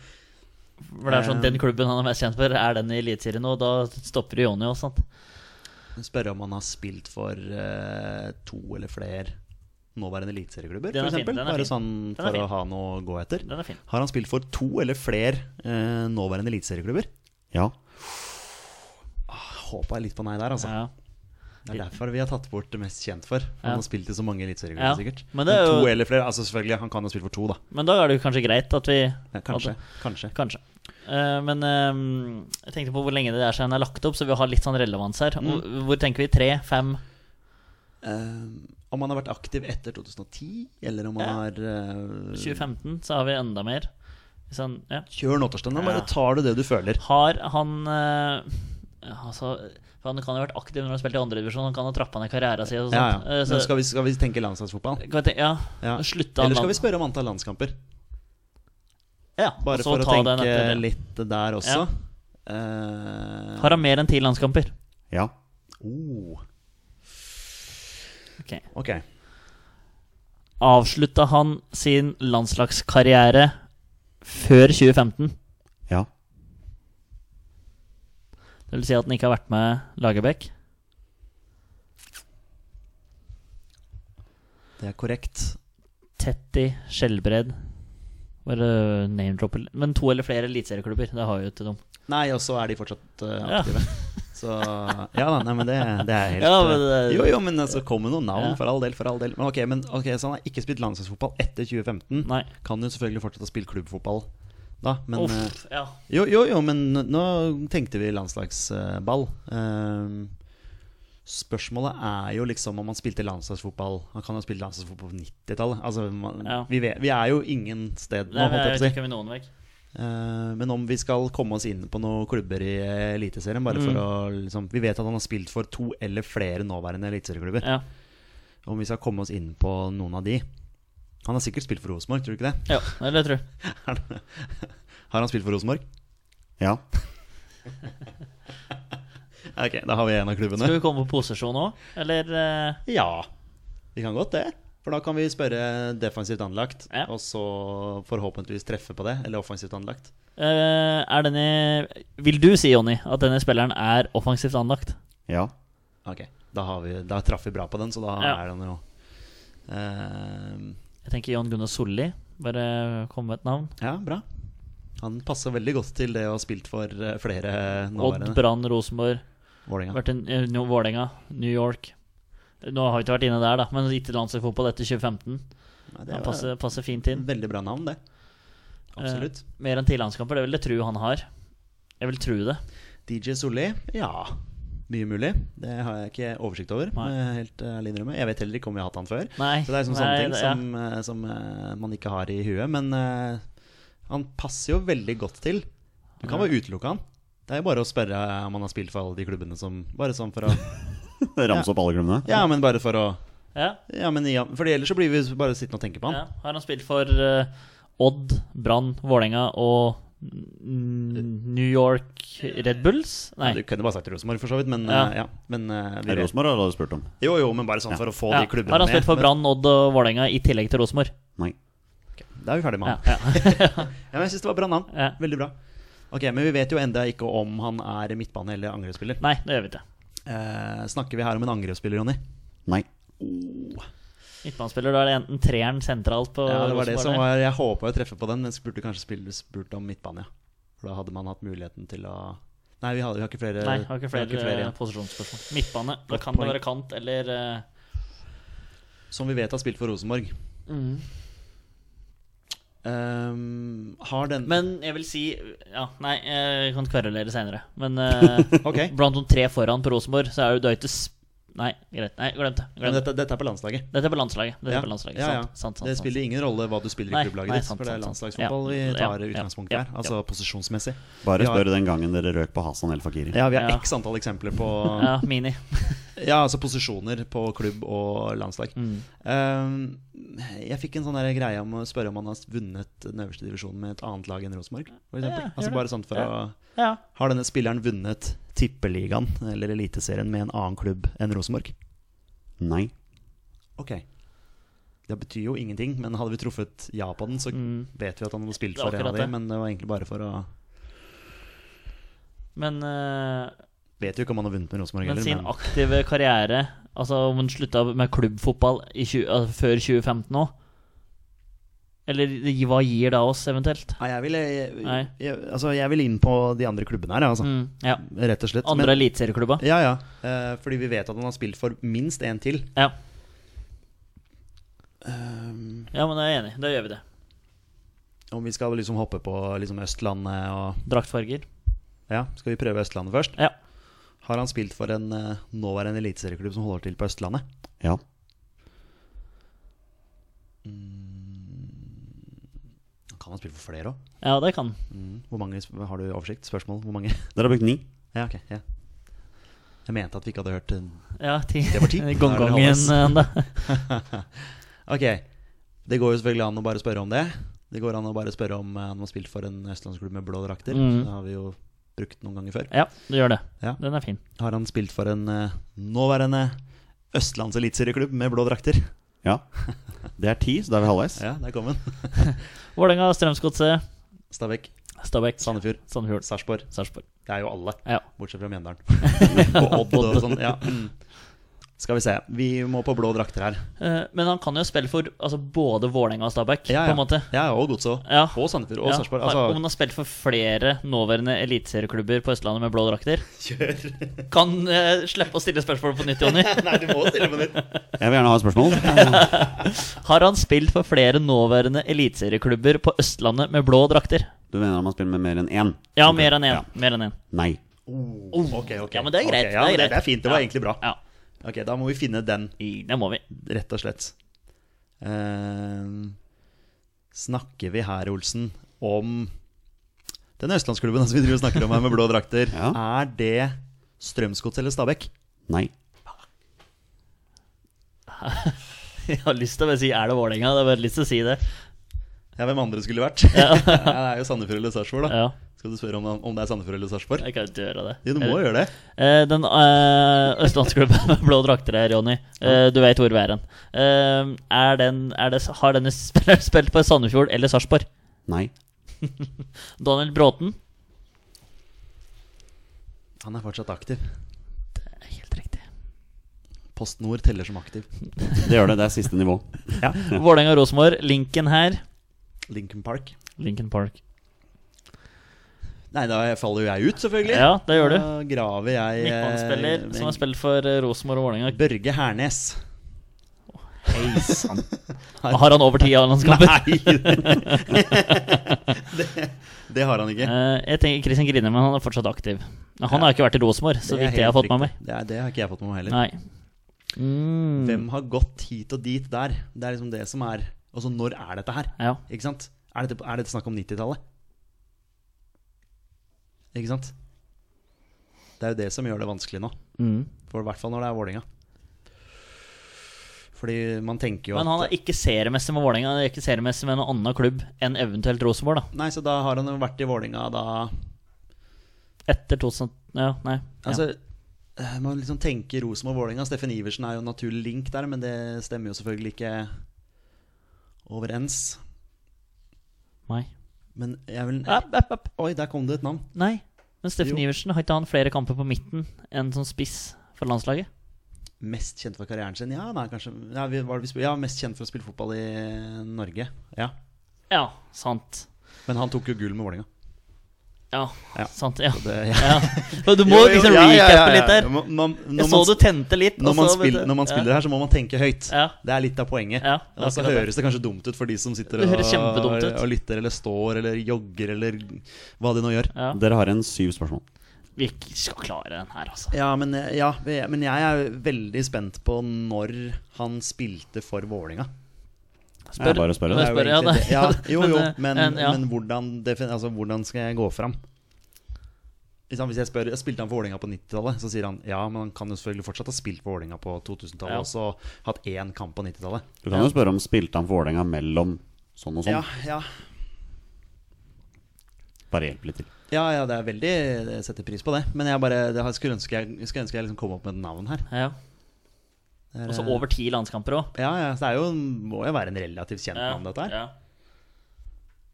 Speaker 3: For det er sånn, Den klubben han er mest kjent for, er den i Eliteserien nå. Da stopper Jonny òg, sant.
Speaker 1: Spørre om han har spilt for eh, to eller flere nåværende eliteserieklubber,
Speaker 3: Den er
Speaker 1: f.eks.
Speaker 3: fin, den er
Speaker 1: Bare
Speaker 3: fin.
Speaker 1: sånn
Speaker 3: Den er
Speaker 1: for
Speaker 3: fin.
Speaker 1: å ha noe å gå etter.
Speaker 3: Den er fin.
Speaker 1: Har han spilt for to eller flere eh, nåværende eliteserieklubber?
Speaker 2: Ja.
Speaker 1: Håpa jeg litt på nei der, altså.
Speaker 3: Ja.
Speaker 1: Det er derfor vi har tatt bort det mest kjent for. Han
Speaker 3: Ja.
Speaker 1: har spilt i så mange eliteserieklubber,
Speaker 3: Ja,
Speaker 1: sikkert.
Speaker 3: men det er jo-
Speaker 1: To eller flere, altså selvfølgelig. Han kan ha spilt for to, da.
Speaker 3: Men da er det jo kanskje greit at vi
Speaker 1: Ja, kanskje. kanskje.
Speaker 3: Kanskje. Eh, men eh, jeg tenkte på hvor lenge det er siden den er lagt opp, så vi har litt sånn relevans her. Hvor, hvor tenker vi? Tre? Fem?
Speaker 1: Eh, om han har vært aktiv etter 2010, eller om han
Speaker 3: Ja.
Speaker 1: har eh,
Speaker 3: 2015? Så har vi enda mer. Sånn, ja.
Speaker 1: Kjør nå, Torstein. Nå
Speaker 3: Ja.
Speaker 1: bare tar du det du føler.
Speaker 3: Har han eh, Altså for Han kan jo ha vært aktiv når han spilte i andredivisjon. Han kan ha trappa ned karrieren sin og sånt.
Speaker 1: Ja, ja.
Speaker 3: Eh, så-
Speaker 1: Men skal vi, skal vi tenke landslagsfotball?
Speaker 3: kan vi tenke- ja.
Speaker 1: Ja.
Speaker 3: Slutta han
Speaker 1: Eller skal vi
Speaker 3: land-
Speaker 1: spørre om antall landskamper?
Speaker 3: ja, og
Speaker 1: Bare
Speaker 3: så
Speaker 1: for å
Speaker 3: ta den
Speaker 1: tenke
Speaker 3: etter det.
Speaker 1: litt der også.
Speaker 3: Ja.
Speaker 1: Eh,
Speaker 3: Har han mer enn ti landskamper?
Speaker 2: Ja.
Speaker 1: oh,
Speaker 3: Ok.
Speaker 1: ok.
Speaker 3: Avslutta han sin landslagskarriere før 2015?
Speaker 2: Ja.
Speaker 3: Det vil si at den ikke har vært med Lagerbäck.
Speaker 1: Det er korrekt.
Speaker 3: Tetty, Skjelbred Bare name-dropper Men to eller flere eliteserieklubber. Det har jo ikke de.
Speaker 1: Nei, og så er de fortsatt eh,
Speaker 3: Ja.
Speaker 1: aktive. Så ja da, nei, men det, det er helt
Speaker 3: Ja, men det-
Speaker 1: Jo, jo, men altså, kom med noen navn,
Speaker 3: Ja.
Speaker 1: for all del, for all del. Men ok, men, ok, så han har ikke spilt landslagsfotball etter 2015.
Speaker 3: Nei.
Speaker 1: Kan jo selvfølgelig fortsette å spille klubbfotball da, men eh,
Speaker 3: Uff, ja.
Speaker 1: Jo, jo, jo, men nå tenkte vi landslagsball. Ehm, Spørsmålet er jo liksom om han spilte landslagsfotball Han kan jo spille landslagsfotball på 90-tallet. Altså, man-
Speaker 3: Ja.
Speaker 1: vi, vet- vi er jo ingen sted nå,
Speaker 3: Nei, men
Speaker 1: holdt jeg
Speaker 3: jeg
Speaker 1: på
Speaker 3: vet
Speaker 1: å si.
Speaker 3: ikke om vi noen vekk.
Speaker 1: Eh, Men om vi skal komme oss inn på noen klubber i Eliteserien bare
Speaker 3: Mm.
Speaker 1: for å, liksom, Vi vet at han har spilt for to eller flere nåværende eliteserieklubber.
Speaker 3: Ja.
Speaker 1: Om vi skal komme oss inn på noen av de Han har sikkert spilt for Rosenborg, tror du ikke det?
Speaker 3: ja, det tror jeg.
Speaker 1: Har han spilt for Rosenborg?
Speaker 2: Ja.
Speaker 1: Ok, da har vi en av klubbene.
Speaker 3: Skal vi komme på posisjon òg, eller eh,
Speaker 1: Ja, vi kan godt det. For da kan vi spørre defensivt anlagt,
Speaker 3: Ja.
Speaker 1: og så forhåpentligvis treffe på det. Eller offensivt anlagt.
Speaker 3: eh, Er denne Vil du si, Jonny, at denne spilleren er offensivt anlagt?
Speaker 2: Ja.
Speaker 1: Ok, Da, har vi, da traff vi bra på den, så da
Speaker 3: Ja.
Speaker 1: er den jo Ehm,
Speaker 3: Jeg tenker Jan Gunnar Solli. Bare kom med et navn.
Speaker 1: Ja, bra. Han passer veldig godt til det å ha spilt for eh, flere
Speaker 3: Odd
Speaker 1: nåværende.
Speaker 3: Brann Rosenborg.
Speaker 1: Vålerenga.
Speaker 3: Vært i eh, no, Vålerenga. New York. Nå har jeg ikke vært inne der, da, men ikke landslagsfotball etter 2015.
Speaker 1: Ja, Det
Speaker 3: Han
Speaker 1: var
Speaker 3: passer, passer fint inn.
Speaker 1: et veldig bra navn, det. Absolutt.
Speaker 3: Eh, mer enn ti landskamper, det vil jeg tro han har. Jeg vil tro det.
Speaker 1: DJ Solli, ja. Mye mulig. Det har jeg ikke oversikt over.
Speaker 3: Nei.
Speaker 1: må jeg Helt eh, ærlig innrømme. Jeg vet heller ikke om vi har hatt han før.
Speaker 3: Nei,
Speaker 1: Så det er liksom
Speaker 3: nei,
Speaker 1: sånne ting
Speaker 3: det-
Speaker 1: som, eh, som eh, man ikke har i huet. Men eh, han passer jo veldig godt til. Du kan bare utelukke han. Det er jo bare å spørre eh, om han har spilt for alle de klubbene som Bare sånn for å
Speaker 2: Ramse opp alle klubbene.
Speaker 1: Ja, men bare for å
Speaker 3: Ja,
Speaker 1: Ja, men ja, For ellers så blir vi bare sittende og tenke på
Speaker 3: ja.
Speaker 1: han.
Speaker 3: Har han spilt for eh, Odd, Brann, Vålerenga og mm, New York Red Bulls? Nei.
Speaker 1: Du kunne bare sagt Rosenborg, for så vidt, men
Speaker 3: Ja.
Speaker 1: eh, ja. Men eh, vi
Speaker 2: Det er
Speaker 1: vet.
Speaker 2: Rosenborg har du spurt om?
Speaker 1: Jo, jo, men bare sånn for å få
Speaker 3: Ja.
Speaker 1: de klubbene
Speaker 3: Har han spilt for
Speaker 1: Men-
Speaker 3: Brann, Odd og Vålerenga i tillegg til Rosenborg?
Speaker 2: Nei.
Speaker 1: Da er vi ferdig med
Speaker 3: Ja,
Speaker 1: han. Ja.
Speaker 3: ja.
Speaker 1: men jeg syns det var bra navn.
Speaker 3: Ja.
Speaker 1: Veldig bra. Ok, Men vi vet jo enda ikke om han er midtbane- eller angrepsspiller.
Speaker 3: Nei, det gjør vi ikke.
Speaker 1: Eh, snakker vi her om en angrepsspiller, Jonny?
Speaker 2: Nei.
Speaker 3: Midtbanespiller, da er det enten treeren sentralt på
Speaker 1: Ja, det var det som
Speaker 3: Rosenborg.
Speaker 1: var Jeg håpa å treffe på den, men så burde du kanskje spille, spurt om midtbane. ja. For da hadde man hatt muligheten til å Nei, vi, hadde, vi har ikke flere.
Speaker 3: Nei, har ikke flere, eh,
Speaker 1: vi har ikke flere, ja.
Speaker 3: posisjonsspørsmål. Midtbane. Da
Speaker 1: Godt
Speaker 3: kan det
Speaker 1: poeng.
Speaker 3: være kant eller eh,
Speaker 1: Som vi vet har spilt for Rosenborg.
Speaker 3: Mm.
Speaker 1: Ehm, har den
Speaker 3: Men jeg vil si Ja, nei, jeg kan kverulere seinere. Men eh,
Speaker 1: Ok.
Speaker 3: blant de tre foran på Rosenborg, så er jo Døytes Nei, greit. Nei, glem det.
Speaker 1: Men
Speaker 3: Glem det.
Speaker 1: dette, dette er på landslaget.
Speaker 3: Dette er på landslaget. Dette er på landslaget.
Speaker 1: ja, ja.
Speaker 3: Sant, sant, sant,
Speaker 1: det
Speaker 3: sant.
Speaker 1: spiller ingen rolle hva du spiller
Speaker 3: Nei,
Speaker 1: i klubblaget
Speaker 3: nei,
Speaker 1: ditt,
Speaker 3: sant,
Speaker 1: for det er
Speaker 3: sant, sant.
Speaker 1: landslagsfotball vi
Speaker 3: Ja,
Speaker 1: tar
Speaker 3: ja,
Speaker 1: utgangspunkt
Speaker 3: ja,
Speaker 1: her. Altså posisjonsmessig.
Speaker 2: Bare
Speaker 1: Vi har-
Speaker 2: spør den gangen dere røk på Hasan El Fakiri.
Speaker 1: Ja, vi har
Speaker 3: Ja.
Speaker 1: x antall eksempler på
Speaker 3: Ja, Mini.
Speaker 1: Ja, altså posisjoner på klubb og landslag.
Speaker 3: Mm.
Speaker 1: Um, jeg fikk en sånn der greie om å spørre om han har vunnet den øverste divisjonen med et annet lag enn Rosenborg. For eksempel.
Speaker 3: Ja, gjør
Speaker 1: altså
Speaker 3: det.
Speaker 1: bare sånn for å
Speaker 3: Ja.
Speaker 1: Har denne spilleren vunnet Tippeligaen eller Eliteserien med en annen klubb enn Rosenborg?
Speaker 2: Nei.
Speaker 1: Ok. Det betyr jo ingenting, men hadde vi truffet ja på den, så vet vi at han hadde spilt
Speaker 3: Mm. Det er
Speaker 1: for en av
Speaker 3: akkurat
Speaker 1: de,
Speaker 3: det.
Speaker 1: men det var egentlig bare for å
Speaker 3: Men, eh,
Speaker 1: Vet jo ikke om han har vunnet med Rosenborg
Speaker 3: men
Speaker 1: heller,
Speaker 3: sin
Speaker 1: men
Speaker 3: aktive karriere Altså om hun slutta med klubbfotball i 20, altså, før 2015 òg? Eller hva gir da oss, eventuelt?
Speaker 1: Nei, jeg vil, jeg,
Speaker 3: Nei.
Speaker 1: jeg, altså, jeg vil inn på de andre klubbene her, jeg, altså.
Speaker 3: Mm, ja.
Speaker 1: Rett og slett. Men-
Speaker 3: Andre eliteserieklubber?
Speaker 1: Ja, ja. Eh, fordi vi vet at han har spilt for minst én til.
Speaker 3: Ja. ja, men da er jeg enig. Da gjør vi det.
Speaker 1: Om vi skal liksom hoppe på liksom Østlandet og
Speaker 3: Draktfarger.
Speaker 1: Ja, skal vi prøve Østlandet først?
Speaker 3: Ja.
Speaker 1: Har han spilt for en eh, nåværende eliteserieklubb som holder til på Østlandet?
Speaker 2: Ja.
Speaker 1: Kan han spille for flere òg?
Speaker 3: ja, det kan han.
Speaker 1: Hvor mange sp- har du oversikt? Spørsmål? Hvor mange?
Speaker 2: Dere har brukt ni.
Speaker 1: ja, ok. Ja. Jeg mente at vi ikke hadde hørt eh,
Speaker 3: Ja, ti.
Speaker 1: Det var ti. Da er det halvveis.
Speaker 3: Gongongen da.
Speaker 1: Ok, det går jo selvfølgelig an å bare spørre om det. Det går an å bare spørre om eh, han har spilt for en østlandsklubb med blå drakter.
Speaker 3: Mm.
Speaker 1: Det har vi jo brukt noen ganger før.
Speaker 3: Ja, du gjør det.
Speaker 1: Ja.
Speaker 3: Den er fin.
Speaker 1: Har han spilt for en eh, nåværende Østlands eliteserieklubb med blå drakter?
Speaker 2: Ja. Det er ti, så da er vi halvveis.
Speaker 1: Ja, der kom den.
Speaker 3: Vålerenga, Strømsgodset,
Speaker 1: Stabæk,
Speaker 3: Stabæk,
Speaker 1: Sandefjord,
Speaker 3: Sandefjord,
Speaker 1: Sarpsborg.
Speaker 3: Sarpsborg.
Speaker 1: Det er jo alle,
Speaker 3: Ja.
Speaker 1: bortsett fra Mjøndalen. og Odd og sånn. Ja. Mm. Skal vi se. Vi må på blå drakter her.
Speaker 3: Eh, Men han kan jo spille for altså, både Vålerenga og Stabæk,
Speaker 1: Ja, ja.
Speaker 3: på en måte.
Speaker 1: Ja, ja, og Godset òg.
Speaker 3: Ja.
Speaker 1: Og Sandefjord og
Speaker 3: Ja,
Speaker 1: Sarpsborg.
Speaker 3: Om han
Speaker 1: Altså,
Speaker 3: har spilt for flere nåværende eliteserieklubber på Østlandet med blå drakter. Kan eh, slippe å stille spørsmål på nytt, Jonny.
Speaker 1: nei, du må stille på nytt.
Speaker 2: Jeg vil gjerne ha et spørsmål.
Speaker 3: Har han spilt for flere nåværende eliteserieklubber på Østlandet med blå drakter?
Speaker 2: Du mener om han spiller med mer enn én?
Speaker 3: Ja, mer enn én.
Speaker 2: Ja.
Speaker 3: Mer enn én.
Speaker 2: Nei.
Speaker 1: ok, ok.
Speaker 3: Oh. Ja, men det er
Speaker 1: Ok,
Speaker 3: greit,
Speaker 1: ja,
Speaker 3: det er
Speaker 1: det,
Speaker 3: greit.
Speaker 1: det er fint. Det var
Speaker 3: Ja.
Speaker 1: egentlig bra.
Speaker 3: Ja,
Speaker 1: Ok, Da må vi finne den,
Speaker 3: i- det må vi.
Speaker 1: rett og slett. Eh, snakker vi her, Olsen, om den østlandsklubben som vi driver og snakker om her med blå drakter?
Speaker 2: Ja.
Speaker 1: Er det Strømsgods eller Stabæk?
Speaker 2: Nei.
Speaker 3: Jeg har lyst til å bare si 'er det Vålerenga'? Jeg har bare lyst til å si det.
Speaker 1: Ja, hvem andre skulle vært? Ja. det er jo Sandefjord eller Sarpsborg, da.
Speaker 3: Ja,
Speaker 1: Skal du spørre om, om det er Sandefjord eller Sarpsborg?
Speaker 3: jeg kan ikke gjøre det.
Speaker 1: Jo, du må gjøre det.
Speaker 3: Eh, Den eh, østlandsklubben med blå drakter her, Jonny. Eh, du vet hvor vi er hen. Eh, er den, er det, har denne spilleren spilt på Sandefjord eller Sarpsborg?
Speaker 2: Nei.
Speaker 3: Daniel Bråten?
Speaker 1: Han er fortsatt aktiv.
Speaker 3: Helt riktig.
Speaker 1: Post Nord teller som aktiv.
Speaker 2: Det gjør det. Det er siste nivå.
Speaker 3: Vålerenga og Rosenborg. Linken her.
Speaker 1: Lincoln Park.
Speaker 3: Lincoln Park.
Speaker 1: Nei, da faller jo jeg ut, selvfølgelig.
Speaker 3: Ja, det gjør du.
Speaker 1: Da graver jeg eh,
Speaker 3: Midtbanespiller som har
Speaker 1: med-
Speaker 3: spilt for eh, Rosenborg og Vålerenga.
Speaker 1: Børge Hernes. Hei sann.
Speaker 3: Har han over ti A-landskamper?
Speaker 1: Nei! det, det har han ikke.
Speaker 3: Eh, jeg tenker Christian Grine, men han er fortsatt aktiv. Men Han har ikke vært i Rosenborg, så
Speaker 1: er
Speaker 3: vidt jeg har
Speaker 1: helt
Speaker 3: fått med meg.
Speaker 1: riktig. Det, er, det har ikke jeg fått med meg heller.
Speaker 3: Nei. Mm.
Speaker 1: Hvem har gått hit og dit der? Det er liksom det som er Altså, når er dette her?
Speaker 3: Ja.
Speaker 1: Ikke sant? Er dette, er dette snakk om 90-tallet? Ikke sant? Det er jo det som gjør det vanskelig nå.
Speaker 3: Mm.
Speaker 1: For I hvert fall når det er Vålerenga. Fordi man tenker jo
Speaker 3: Men han
Speaker 1: at
Speaker 3: er ikke seriemessig med Vålerenga. Han er ikke seriemessig med noen annen klubb enn eventuelt Rosenborg, da.
Speaker 1: Nei, så da har han jo vært i Vålerenga da
Speaker 3: Etter 2000 Ja, nei.
Speaker 1: Altså, eh, man liksom tenker Rosenborg og Vålerenga. Steffen Iversen er jo en naturlig link der, men det stemmer jo selvfølgelig ikke overens.
Speaker 3: ja. Nei.
Speaker 1: Men jeg vil
Speaker 3: App, app, app.
Speaker 1: Oi, der kom det et navn.
Speaker 3: nei. Men Steffen
Speaker 1: Jo.
Speaker 3: Iversen, har ikke han flere kamper på midten enn som spiss for landslaget?
Speaker 1: Mest kjent for karrieren sin? Ja, nei, kanskje ja, vi, var det vi spil- ja, mest kjent for å spille fotball i eh, Norge. Ja.
Speaker 3: Ja, sant.
Speaker 1: Men han tok jo gull med Vålerenga.
Speaker 3: Ja,
Speaker 1: Ja.
Speaker 3: sant. Ja.
Speaker 1: Det-
Speaker 3: ja. Og Du må
Speaker 1: Jo, jo,
Speaker 3: liksom
Speaker 1: ja,
Speaker 3: recappe
Speaker 1: ja, ja, ja.
Speaker 3: litt der.
Speaker 1: Man- man- når
Speaker 3: Jeg så
Speaker 1: man-
Speaker 3: du tente litt.
Speaker 1: når
Speaker 3: og
Speaker 1: man,
Speaker 3: så-
Speaker 1: spiller, når man
Speaker 3: Altså, Ja.
Speaker 1: spiller her, så må man tenke høyt.
Speaker 3: Ja.
Speaker 1: Det er litt av poenget.
Speaker 3: Ja, det er
Speaker 1: og så
Speaker 3: akkurat
Speaker 1: høres det kanskje dumt ut for de som sitter
Speaker 3: Det
Speaker 1: og,
Speaker 3: høres kjempedumt ut.
Speaker 1: og lytter eller står eller jogger eller hva de nå gjør.
Speaker 3: Ja.
Speaker 2: Dere har en syv spørsmål.
Speaker 3: Vi skal klare den her, altså.
Speaker 1: Ja, men, ja, men jeg er veldig spent på når han spilte for Vålinga.
Speaker 2: Det er bare å spørre.
Speaker 3: Men
Speaker 2: det.
Speaker 3: spør- ja,
Speaker 1: egentlig
Speaker 3: det-
Speaker 1: det. ja, jo, jo,
Speaker 3: eh,
Speaker 1: men,
Speaker 3: en- ja.
Speaker 1: men hvordan, defin- altså, hvordan skal jeg gå fram? Ikke sant, Hvis jeg spør, jeg spilte han for Vålerenga på 90-tallet, så sier han ja, men han kan jo selvfølgelig fortsatt ha spilt for Vålerenga på
Speaker 3: Ja.
Speaker 1: 2000-tallet også, og hatt én kamp på 90-tallet.
Speaker 2: Du kan jo spørre om spilte han for Vålerenga mellom sånn og sånn.
Speaker 1: Ja, ja.
Speaker 2: Bare hjelp litt til.
Speaker 1: ja, ja, det er veldig Jeg setter pris på det, men jeg bare det har- skulle ønske jeg, skulle ønske jeg liksom kom opp med et navn her.
Speaker 3: Ja.
Speaker 1: Det er,
Speaker 3: Og så
Speaker 1: eh,
Speaker 3: over ti landskamper òg.
Speaker 1: Ja, ja, så det er jo, må jo være en relativt kjent navn, dette her.
Speaker 3: Ja.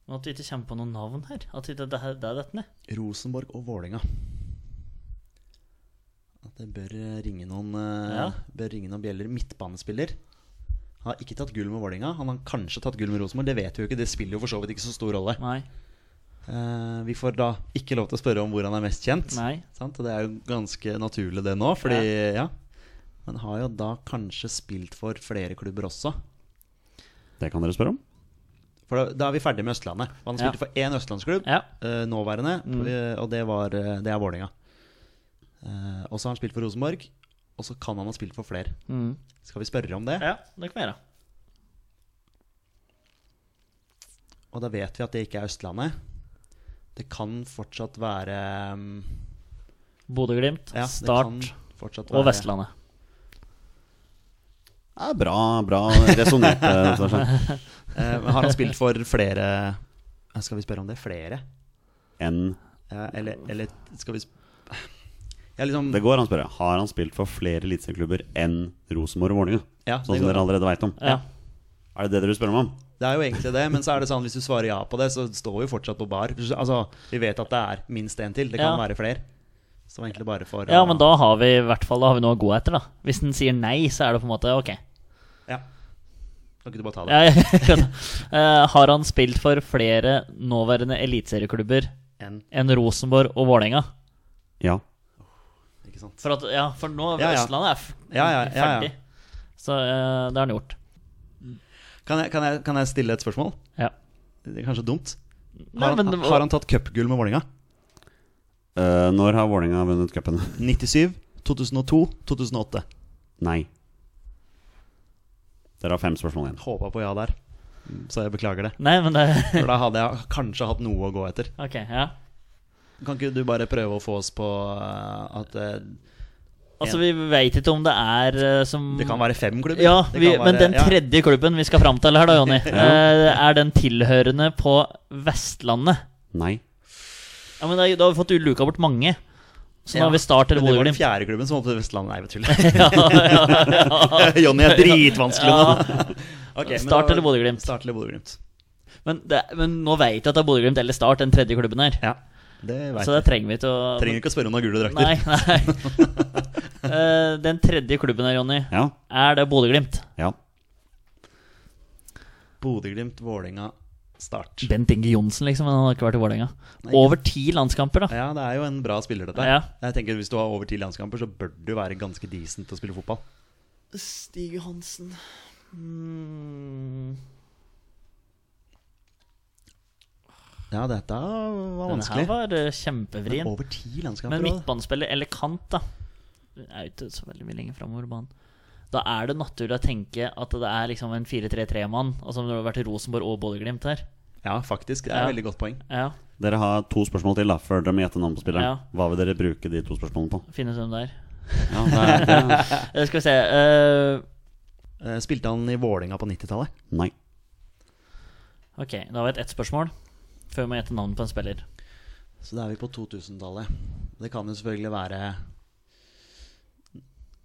Speaker 3: Men At vi ikke kommer på noen navn her. At vi, det, det, det er dette ned.
Speaker 1: Rosenborg og Vålinga. At det bør eh, ringe noen, eh,
Speaker 3: Ja.
Speaker 1: bør ringe noen bjeller. Midtbanespiller. Han har ikke tatt gull med Vålinga. Han har kanskje tatt gull med Rosenborg. Det vet vi jo ikke. Det spiller jo for så vidt ikke så stor rolle.
Speaker 3: Nei.
Speaker 1: Eh, vi får da ikke lov til å spørre om hvor han er mest kjent.
Speaker 3: Nei.
Speaker 1: Sant? Og det er jo ganske naturlig det nå, fordi ja. Men har jo da kanskje spilt for flere klubber også.
Speaker 2: Det kan dere spørre om.
Speaker 1: For da, da er vi ferdig med Østlandet. For Han
Speaker 3: Ja.
Speaker 1: spilte for én østlandsklubb,
Speaker 3: Ja. Mm.
Speaker 1: eh, nåværende, eh, og det, var, eh, det er Vålerenga. Eh, og så har han spilt for Rosenborg, og så kan han ha spilt for flere. Skal vi spørre om det?
Speaker 3: Mm. Ja, det kan vi gjøre.
Speaker 1: Og da vet vi at det ikke er Østlandet. Det kan fortsatt være mm,
Speaker 3: Bodø-Glimt,
Speaker 1: ja, det kan
Speaker 3: Start
Speaker 1: fortsatt
Speaker 3: og
Speaker 1: være-
Speaker 3: Vestlandet.
Speaker 2: Ja, bra bra resonnert. eh, Sasha.
Speaker 1: Eh, men har han spilt for flere eh, Skal vi spørre om det? Flere?
Speaker 2: Enn
Speaker 1: Ja, eller, eller skal vi sp ja, liksom,
Speaker 2: Det går an å spørre. Har han spilt for flere eliteserieklubber enn Rosenborg og Vålerenga?
Speaker 1: Ja, det
Speaker 2: sånn som
Speaker 1: går
Speaker 2: dere allerede veit om.
Speaker 3: Ja.
Speaker 2: Er det det dere spør meg om?
Speaker 1: Det er jo egentlig det, men så er det sånn hvis du svarer ja på det, så står vi jo fortsatt på bar. Altså, Vi vet at det er minst én til. Det kan
Speaker 3: Ja.
Speaker 1: være flere. Så egentlig bare for
Speaker 3: Ja,
Speaker 1: å-
Speaker 3: men da har vi i hvert fall Da har vi noe å gå etter, da. Hvis den sier nei, så er det på en måte ok.
Speaker 1: Ja. Kan ikke du bare ta det?
Speaker 3: Ja, ja. Eh, har han spilt for flere nåværende eliteserieklubber
Speaker 1: En,
Speaker 3: enn Rosenborg og Vålerenga?
Speaker 2: Ja.
Speaker 1: ikke sant?
Speaker 3: For at, ja, for nå
Speaker 1: Ja, ja.
Speaker 3: Østlandet er f
Speaker 1: Ja, ja, ja, ja.
Speaker 3: ferdig. Så eh, det har han gjort.
Speaker 1: Kan jeg, kan, jeg, kan jeg stille et spørsmål?
Speaker 3: Ja.
Speaker 1: Det er kanskje dumt.
Speaker 3: Nei,
Speaker 1: Har han,
Speaker 3: men det var-
Speaker 1: har han tatt cupgull med Vålerenga?
Speaker 2: Eh, når har Vålerenga vunnet cupen?
Speaker 1: 97, 2002, 2008.
Speaker 2: Nei. Dere har fem spørsmål igjen.
Speaker 1: Håpa på ja der, så jeg beklager det.
Speaker 3: Nei, men det
Speaker 1: For da hadde jeg kanskje hatt noe å gå etter.
Speaker 3: Ok, ja.
Speaker 1: Kan ikke du bare prøve å få oss på eh, at eh,
Speaker 3: Altså, vi veit ikke om det er eh, som
Speaker 1: det kan være fem klubber?
Speaker 3: Ja,
Speaker 1: Det
Speaker 3: vi,
Speaker 1: kan
Speaker 3: men
Speaker 1: være-
Speaker 3: den
Speaker 1: ja.
Speaker 3: tredje klubben vi skal fram til her, da, Jonny, eh, er den tilhørende på Vestlandet?
Speaker 2: Nei.
Speaker 3: Ja, men da, da har vi fått luka bort mange. Så nå har vi Start eller
Speaker 1: Men Det var den
Speaker 3: Bodø-Glimt.
Speaker 1: fjerde klubben som holdt til Vestlandet. Nei, jeg
Speaker 3: Ja, ja, ja.
Speaker 1: tuller. Jonny er dritvanskelig nå. Ok, men
Speaker 3: Start
Speaker 1: da-
Speaker 3: eller Bodø-Glimt?
Speaker 1: Start eller Bodø-Glimt.
Speaker 3: Men, det, men nå veit jeg at det er Bodø-Glimt eller Start, den tredje klubben her.
Speaker 1: Ja, det vet
Speaker 3: Så
Speaker 1: jeg.
Speaker 3: det trenger vi ikke å
Speaker 1: Trenger ikke å spørre om du har gule drakter.
Speaker 3: Nei, nei. Eh, den tredje klubben her, Jonny,
Speaker 2: Ja.
Speaker 3: er det Bodø-Glimt?
Speaker 2: Ja.
Speaker 1: Bodø-Glimt, Vålerenga, Start.
Speaker 3: Bent Inge Johnsen, liksom. men Han har ikke vært i Vålerenga.
Speaker 1: Nei, ikke
Speaker 3: Over ti landskamper, da.
Speaker 1: Ja, det er jo en bra spiller, dette.
Speaker 3: Ja.
Speaker 1: Jeg tenker Hvis du har over ti landskamper, så bør du være ganske decent til å spille fotball.
Speaker 3: Stig Johansen mm.
Speaker 1: Ja, dette var
Speaker 3: Den her
Speaker 1: vanskelig.
Speaker 3: var eh, kjempevrien.
Speaker 1: Over ti landskamper
Speaker 3: Men
Speaker 1: også.
Speaker 3: midtbanespiller eller kant, da. Det er jo ikke så veldig mye lenger framover i banen. Da er det naturlig å tenke at det er liksom en 4-3-3-mann. Altså når det har vært Rosenborg og Bodø-Glimt her.
Speaker 1: Ja, faktisk. Det er
Speaker 3: Ja.
Speaker 1: et veldig godt poeng.
Speaker 3: Ja,
Speaker 2: Dere har to spørsmål til da før dere må gjette navnet på spilleren.
Speaker 3: Ja.
Speaker 2: Hva vil dere bruke de to spørsmålene på?
Speaker 3: finnes hvem det er.
Speaker 2: Ja, det er, det er.
Speaker 3: Eh, skal vi se eh,
Speaker 1: Eh, Spilte han i Vålerenga på 90-tallet?
Speaker 2: Nei.
Speaker 3: Ok, da har vi et ett spørsmål før vi må gjette navnet på en spiller.
Speaker 1: Så da er vi på 2000-tallet. Det kan jo selvfølgelig være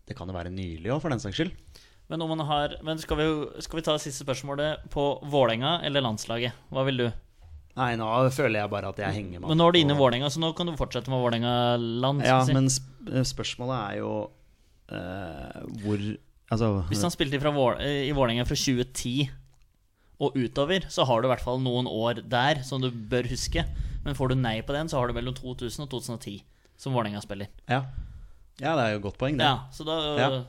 Speaker 1: Det kan jo være nylig òg, for den saks skyld.
Speaker 3: Men, om man har, men skal, vi, jo- skal vi ta siste spørsmålet på Vålerenga eller landslaget? Hva vil du?
Speaker 1: Nei, nå føler jeg bare at jeg henger meg
Speaker 3: Men nå er du inne i
Speaker 1: på-
Speaker 3: Vålerenga, så nå kan du fortsette med Vålerenga-land.
Speaker 1: Ja,
Speaker 3: skal vi si.
Speaker 1: men sp eh, spørsmålet er jo eh, hvor Altså
Speaker 3: Hvis han spilte fra Vål- eh, i Vålerenga fra 2010 og utover, så har du i hvert fall noen år der som du bør huske. Men får du nei på den, så har du mellom 2000 og 2010 som Vålerenga-spiller.
Speaker 1: ja. ja, det er jo et godt poeng, det.
Speaker 3: Ja, så da
Speaker 1: Ja.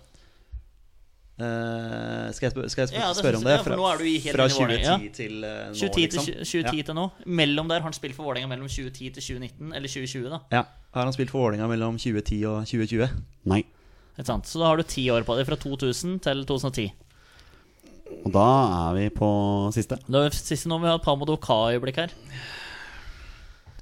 Speaker 1: Eh, skal jeg, spør skal jeg spør
Speaker 3: Ja, det
Speaker 1: spørre
Speaker 3: synes
Speaker 1: om
Speaker 3: jeg,
Speaker 1: det?
Speaker 3: ja, for nå er du i helt
Speaker 1: fra
Speaker 3: inn i
Speaker 1: 2010
Speaker 3: Vålerenga, ja.
Speaker 1: til eh, nå,
Speaker 3: 2010
Speaker 1: liksom?
Speaker 3: til, 2010 til nå. Mellom der har han spilt for Vålerenga mellom 2010 til 2019, eller 2020, da.
Speaker 1: Ja. ja. Har han spilt for Vålerenga mellom 2010 og 2020?
Speaker 2: Nei.
Speaker 3: Ikke sant? Så da har du ti år på deg, fra 2000 til 2010.
Speaker 2: Og da er vi på siste.
Speaker 3: Da er det siste nå må vi ha et Pamod Oka-øyeblikk her.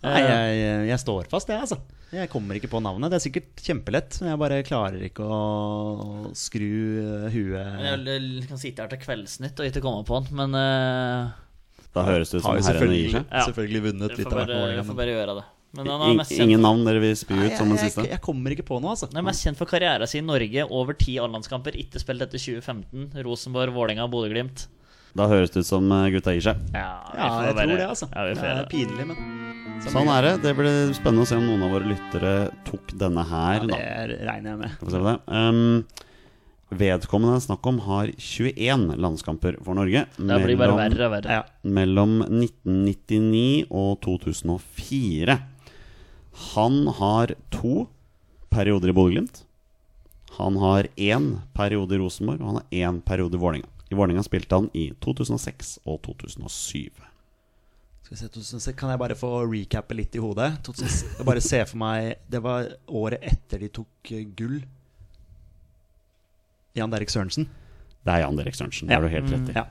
Speaker 1: Nei, jeg, jeg står fast, jeg, altså. Jeg kommer ikke på navnet. Det er sikkert kjempelett, men jeg bare klarer ikke å skru eh, huet
Speaker 3: Jeg jeg kan sitte her til Kveldsnytt og ikke komme på han, men eh,
Speaker 2: Da høres det ut som
Speaker 1: Har jo
Speaker 2: herrene gir
Speaker 1: selvfølgelig,
Speaker 2: seg.
Speaker 3: Ja.
Speaker 1: selvfølgelig vunnet
Speaker 3: Jeg
Speaker 1: litt
Speaker 3: får
Speaker 1: av hvert
Speaker 3: bare,
Speaker 1: med
Speaker 3: jeg
Speaker 1: Vålerenga.
Speaker 3: får
Speaker 1: men-
Speaker 3: bare gjøre det. Men han er
Speaker 2: In,
Speaker 3: mest kjent,
Speaker 2: ingen navn dere vil spy
Speaker 1: Nei,
Speaker 2: ut som den
Speaker 1: jeg,
Speaker 2: siste?
Speaker 1: jeg kommer ikke på noe, altså.
Speaker 3: han er mest kjent for karrieren sin i Norge. Over ti A-landskamper, ikke spilt etter 2015. Rosenborg, Vålerenga, Bodø-Glimt.
Speaker 2: Da høres det ut som eh, gutta gir seg.
Speaker 1: Ja, jeg tror det, altså.
Speaker 3: Ja, vi får
Speaker 1: det
Speaker 3: gjøre det.
Speaker 1: er pinlig, men
Speaker 2: Sånn er det. Det blir spennende å se om noen av våre lyttere tok denne her, da.
Speaker 1: Det regner jeg med.
Speaker 2: Skal vi se på det. Ehm, vedkommende det er snakk om, har 21 landskamper for Norge.
Speaker 3: Det blir bare
Speaker 2: mellom-
Speaker 3: verre og verre.
Speaker 1: Ja.
Speaker 2: mellom 1999 og 2004. Han har to perioder i Bodø-Glimt. Han har én periode i Rosenborg, og han har én periode i Vålerenga. I Vålerenga spilte han i 2006 og 2007.
Speaker 1: Skal vi se, 2006, Kan jeg bare få recappe litt i hodet? 2006, jeg bare se for meg Det var året etter de tok eh, gull. Jan Derek Sørensen.
Speaker 2: Det er Jan Derek Sørensen. Det
Speaker 1: Ja. Mm,
Speaker 2: har du helt rett i.
Speaker 1: Ja.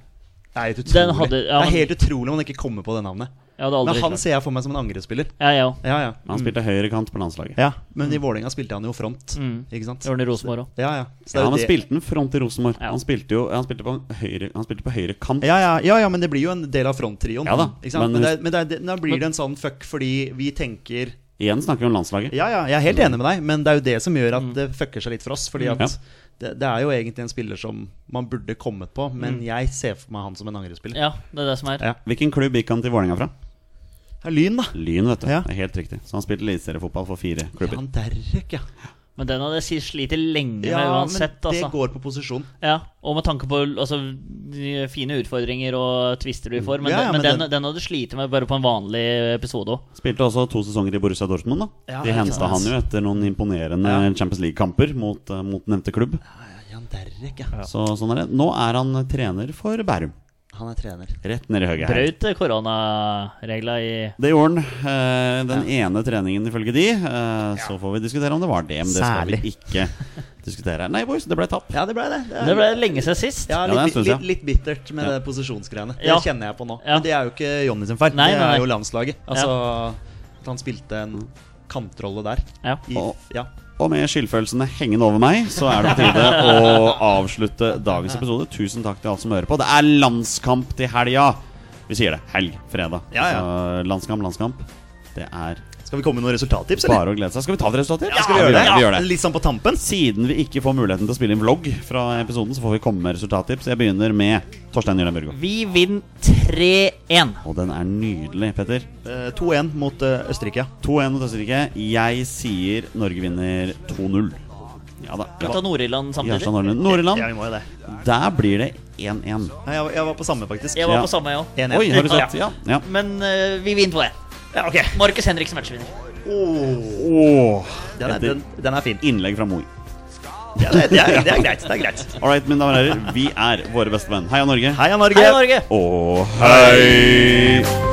Speaker 1: Det er helt
Speaker 3: Den
Speaker 1: utrolig
Speaker 3: hadde- ja,
Speaker 1: Det er
Speaker 3: men-
Speaker 1: helt utrolig om man ikke kommer på det navnet.
Speaker 3: Jeg hadde aldri
Speaker 1: Men han
Speaker 3: klart.
Speaker 1: ser jeg for meg som en angrepsspiller.
Speaker 3: Ja, jeg òg.
Speaker 1: Ja, ja.
Speaker 2: Men Han spilte høyrekant på landslaget.
Speaker 1: ja Men i Vålerenga spilte han jo front. Ikke sant?
Speaker 3: Mm. Det var den i Rosenborg òg.
Speaker 1: Ja, ja. Så det
Speaker 2: Ja,
Speaker 1: er jo
Speaker 2: men han
Speaker 1: det-
Speaker 2: spilte den front i Rosenborg.
Speaker 3: Ja.
Speaker 2: Han spilte jo han spilte på høyre, han spilte på høyre kant.
Speaker 1: ja, ja, ja, ja, men det blir jo en del av fronttrioen.
Speaker 2: Ja da,
Speaker 1: Ikke sant?
Speaker 2: men-
Speaker 1: Men, det, er- men det, er- det, da blir det en sånn fuck fordi vi tenker
Speaker 2: Igjen snakker vi om landslaget.
Speaker 3: Mm.
Speaker 1: Ja, ja, jeg er helt enig med deg, men det er jo det som gjør at det fucker seg litt for oss. Fordi at
Speaker 2: Ja.
Speaker 1: det, det er jo egentlig en spiller som man burde kommet på, men jeg ser for meg han som en angrespiller.
Speaker 3: Mm. Ja, det er det som er.
Speaker 1: Ja.
Speaker 2: Hvilken klubb gikk han til Vålerenga fra?
Speaker 1: Det er Lyn, da.
Speaker 2: Lyn, vet du.
Speaker 1: Ja.
Speaker 2: Det er helt riktig. Så han spilte eliteseriefotball for fire
Speaker 1: Ja,
Speaker 2: klubber.
Speaker 1: han Derek, ja.
Speaker 3: Men den hadde jeg slitt lenge
Speaker 1: ja
Speaker 3: med
Speaker 1: men
Speaker 3: uansett,
Speaker 1: det
Speaker 3: altså.
Speaker 1: går på posisjon.
Speaker 3: Ja, og med tanke på altså, de fine utfordringer og twister du får. Men,
Speaker 1: Ja,
Speaker 3: den,
Speaker 1: ja,
Speaker 3: men
Speaker 1: men
Speaker 3: den, den hadde slitt med bare på en vanlig episode òg.
Speaker 2: Spilte også to sesonger i Borussia Dortmund. da
Speaker 1: Ja,
Speaker 2: De
Speaker 1: ikke
Speaker 2: henta
Speaker 1: sant.
Speaker 2: han jo etter noen imponerende Champions League-kamper mot, eh, mot nevnte klubb.
Speaker 1: Jan Derek, ja.
Speaker 2: Så sånn er det. Nå er han trener for Bærum.
Speaker 1: Han er trener.
Speaker 2: Rett ned i høyre her.
Speaker 3: Brøt koronaregla i
Speaker 2: Det gjorde han. eh, Den ene treningen ifølge de. eh, Så får vi diskutere om det var det, men det skal
Speaker 1: Særlig.
Speaker 2: vi ikke diskutere. Nei, boys, det ble tap.
Speaker 1: Ja, det ble det. er-
Speaker 3: Det ble lenge siden sist.
Speaker 1: ja,
Speaker 2: Ja, det er en
Speaker 1: litt,
Speaker 2: stund
Speaker 1: litt,
Speaker 2: siden.
Speaker 1: litt bittert med det posisjonsgreiene. Det
Speaker 3: Ja.
Speaker 1: kjenner jeg på nå.
Speaker 3: Ja.
Speaker 1: Men det er jo ikke Jonny sin feil.
Speaker 3: Nei,
Speaker 1: det
Speaker 3: nei, nei.
Speaker 1: er jo landslaget. Altså, at han spilte en kantrolle der.
Speaker 3: Ja.
Speaker 1: I,
Speaker 2: Og-
Speaker 1: ja.
Speaker 2: Og med skyldfølelsene hengende over meg, så er det på tide å avslutte dagens episode. Tusen takk til alle som hører på. Det er landskamp til helga! Vi sier det. Helg. Fredag.
Speaker 1: Ja, ja.
Speaker 2: Så landskamp, landskamp. Det er
Speaker 1: Skal vi komme med noen resultattips, eller?
Speaker 2: bare å glede seg. Skal vi ta et resultat?
Speaker 1: Ja, skal vi gjøre det?
Speaker 2: Vi gjør det.
Speaker 1: Litt sånn på tampen.
Speaker 2: Siden vi ikke får muligheten til å spille inn vlogg fra episoden, så får vi komme med resultattips. Jeg begynner med Torstein Jørgen Burgo.
Speaker 3: Vi vinner 3-1.
Speaker 2: Og den er nydelig, Petter.
Speaker 1: Eh, 2-1 mot eh, Østerrike.
Speaker 2: 2-1 mot Østerrike. Jeg sier Norge vinner 2-0. Ja da.
Speaker 3: Skal vi ta Nord-Irland samtidig?
Speaker 2: Jarstein Orlund. Nordland,
Speaker 1: Ja, sånn vi må jo det.
Speaker 2: der blir det 1-1.
Speaker 1: Nei, jeg, var- jeg var på samme, faktisk.
Speaker 3: Jeg var
Speaker 2: Ja.
Speaker 3: på samme, jeg òg.
Speaker 1: 1-1.
Speaker 2: Oi, har du sett? Ja. ja.
Speaker 3: Men eh, vi vinner på det.
Speaker 1: Ja, ok.
Speaker 3: Markus Henriksen matchvinner.
Speaker 1: Åh,
Speaker 2: Åh,
Speaker 1: den, er,
Speaker 2: Etter
Speaker 1: den, den er fin.
Speaker 2: innlegg fra Moi.
Speaker 1: Ja, det, det, er, det er greit. Det er greit.
Speaker 2: All right, mine damer og herrer. Vi er våre beste venn. Heia Norge.
Speaker 1: Heia Norge!
Speaker 3: Hei, Norge!
Speaker 2: Og hei!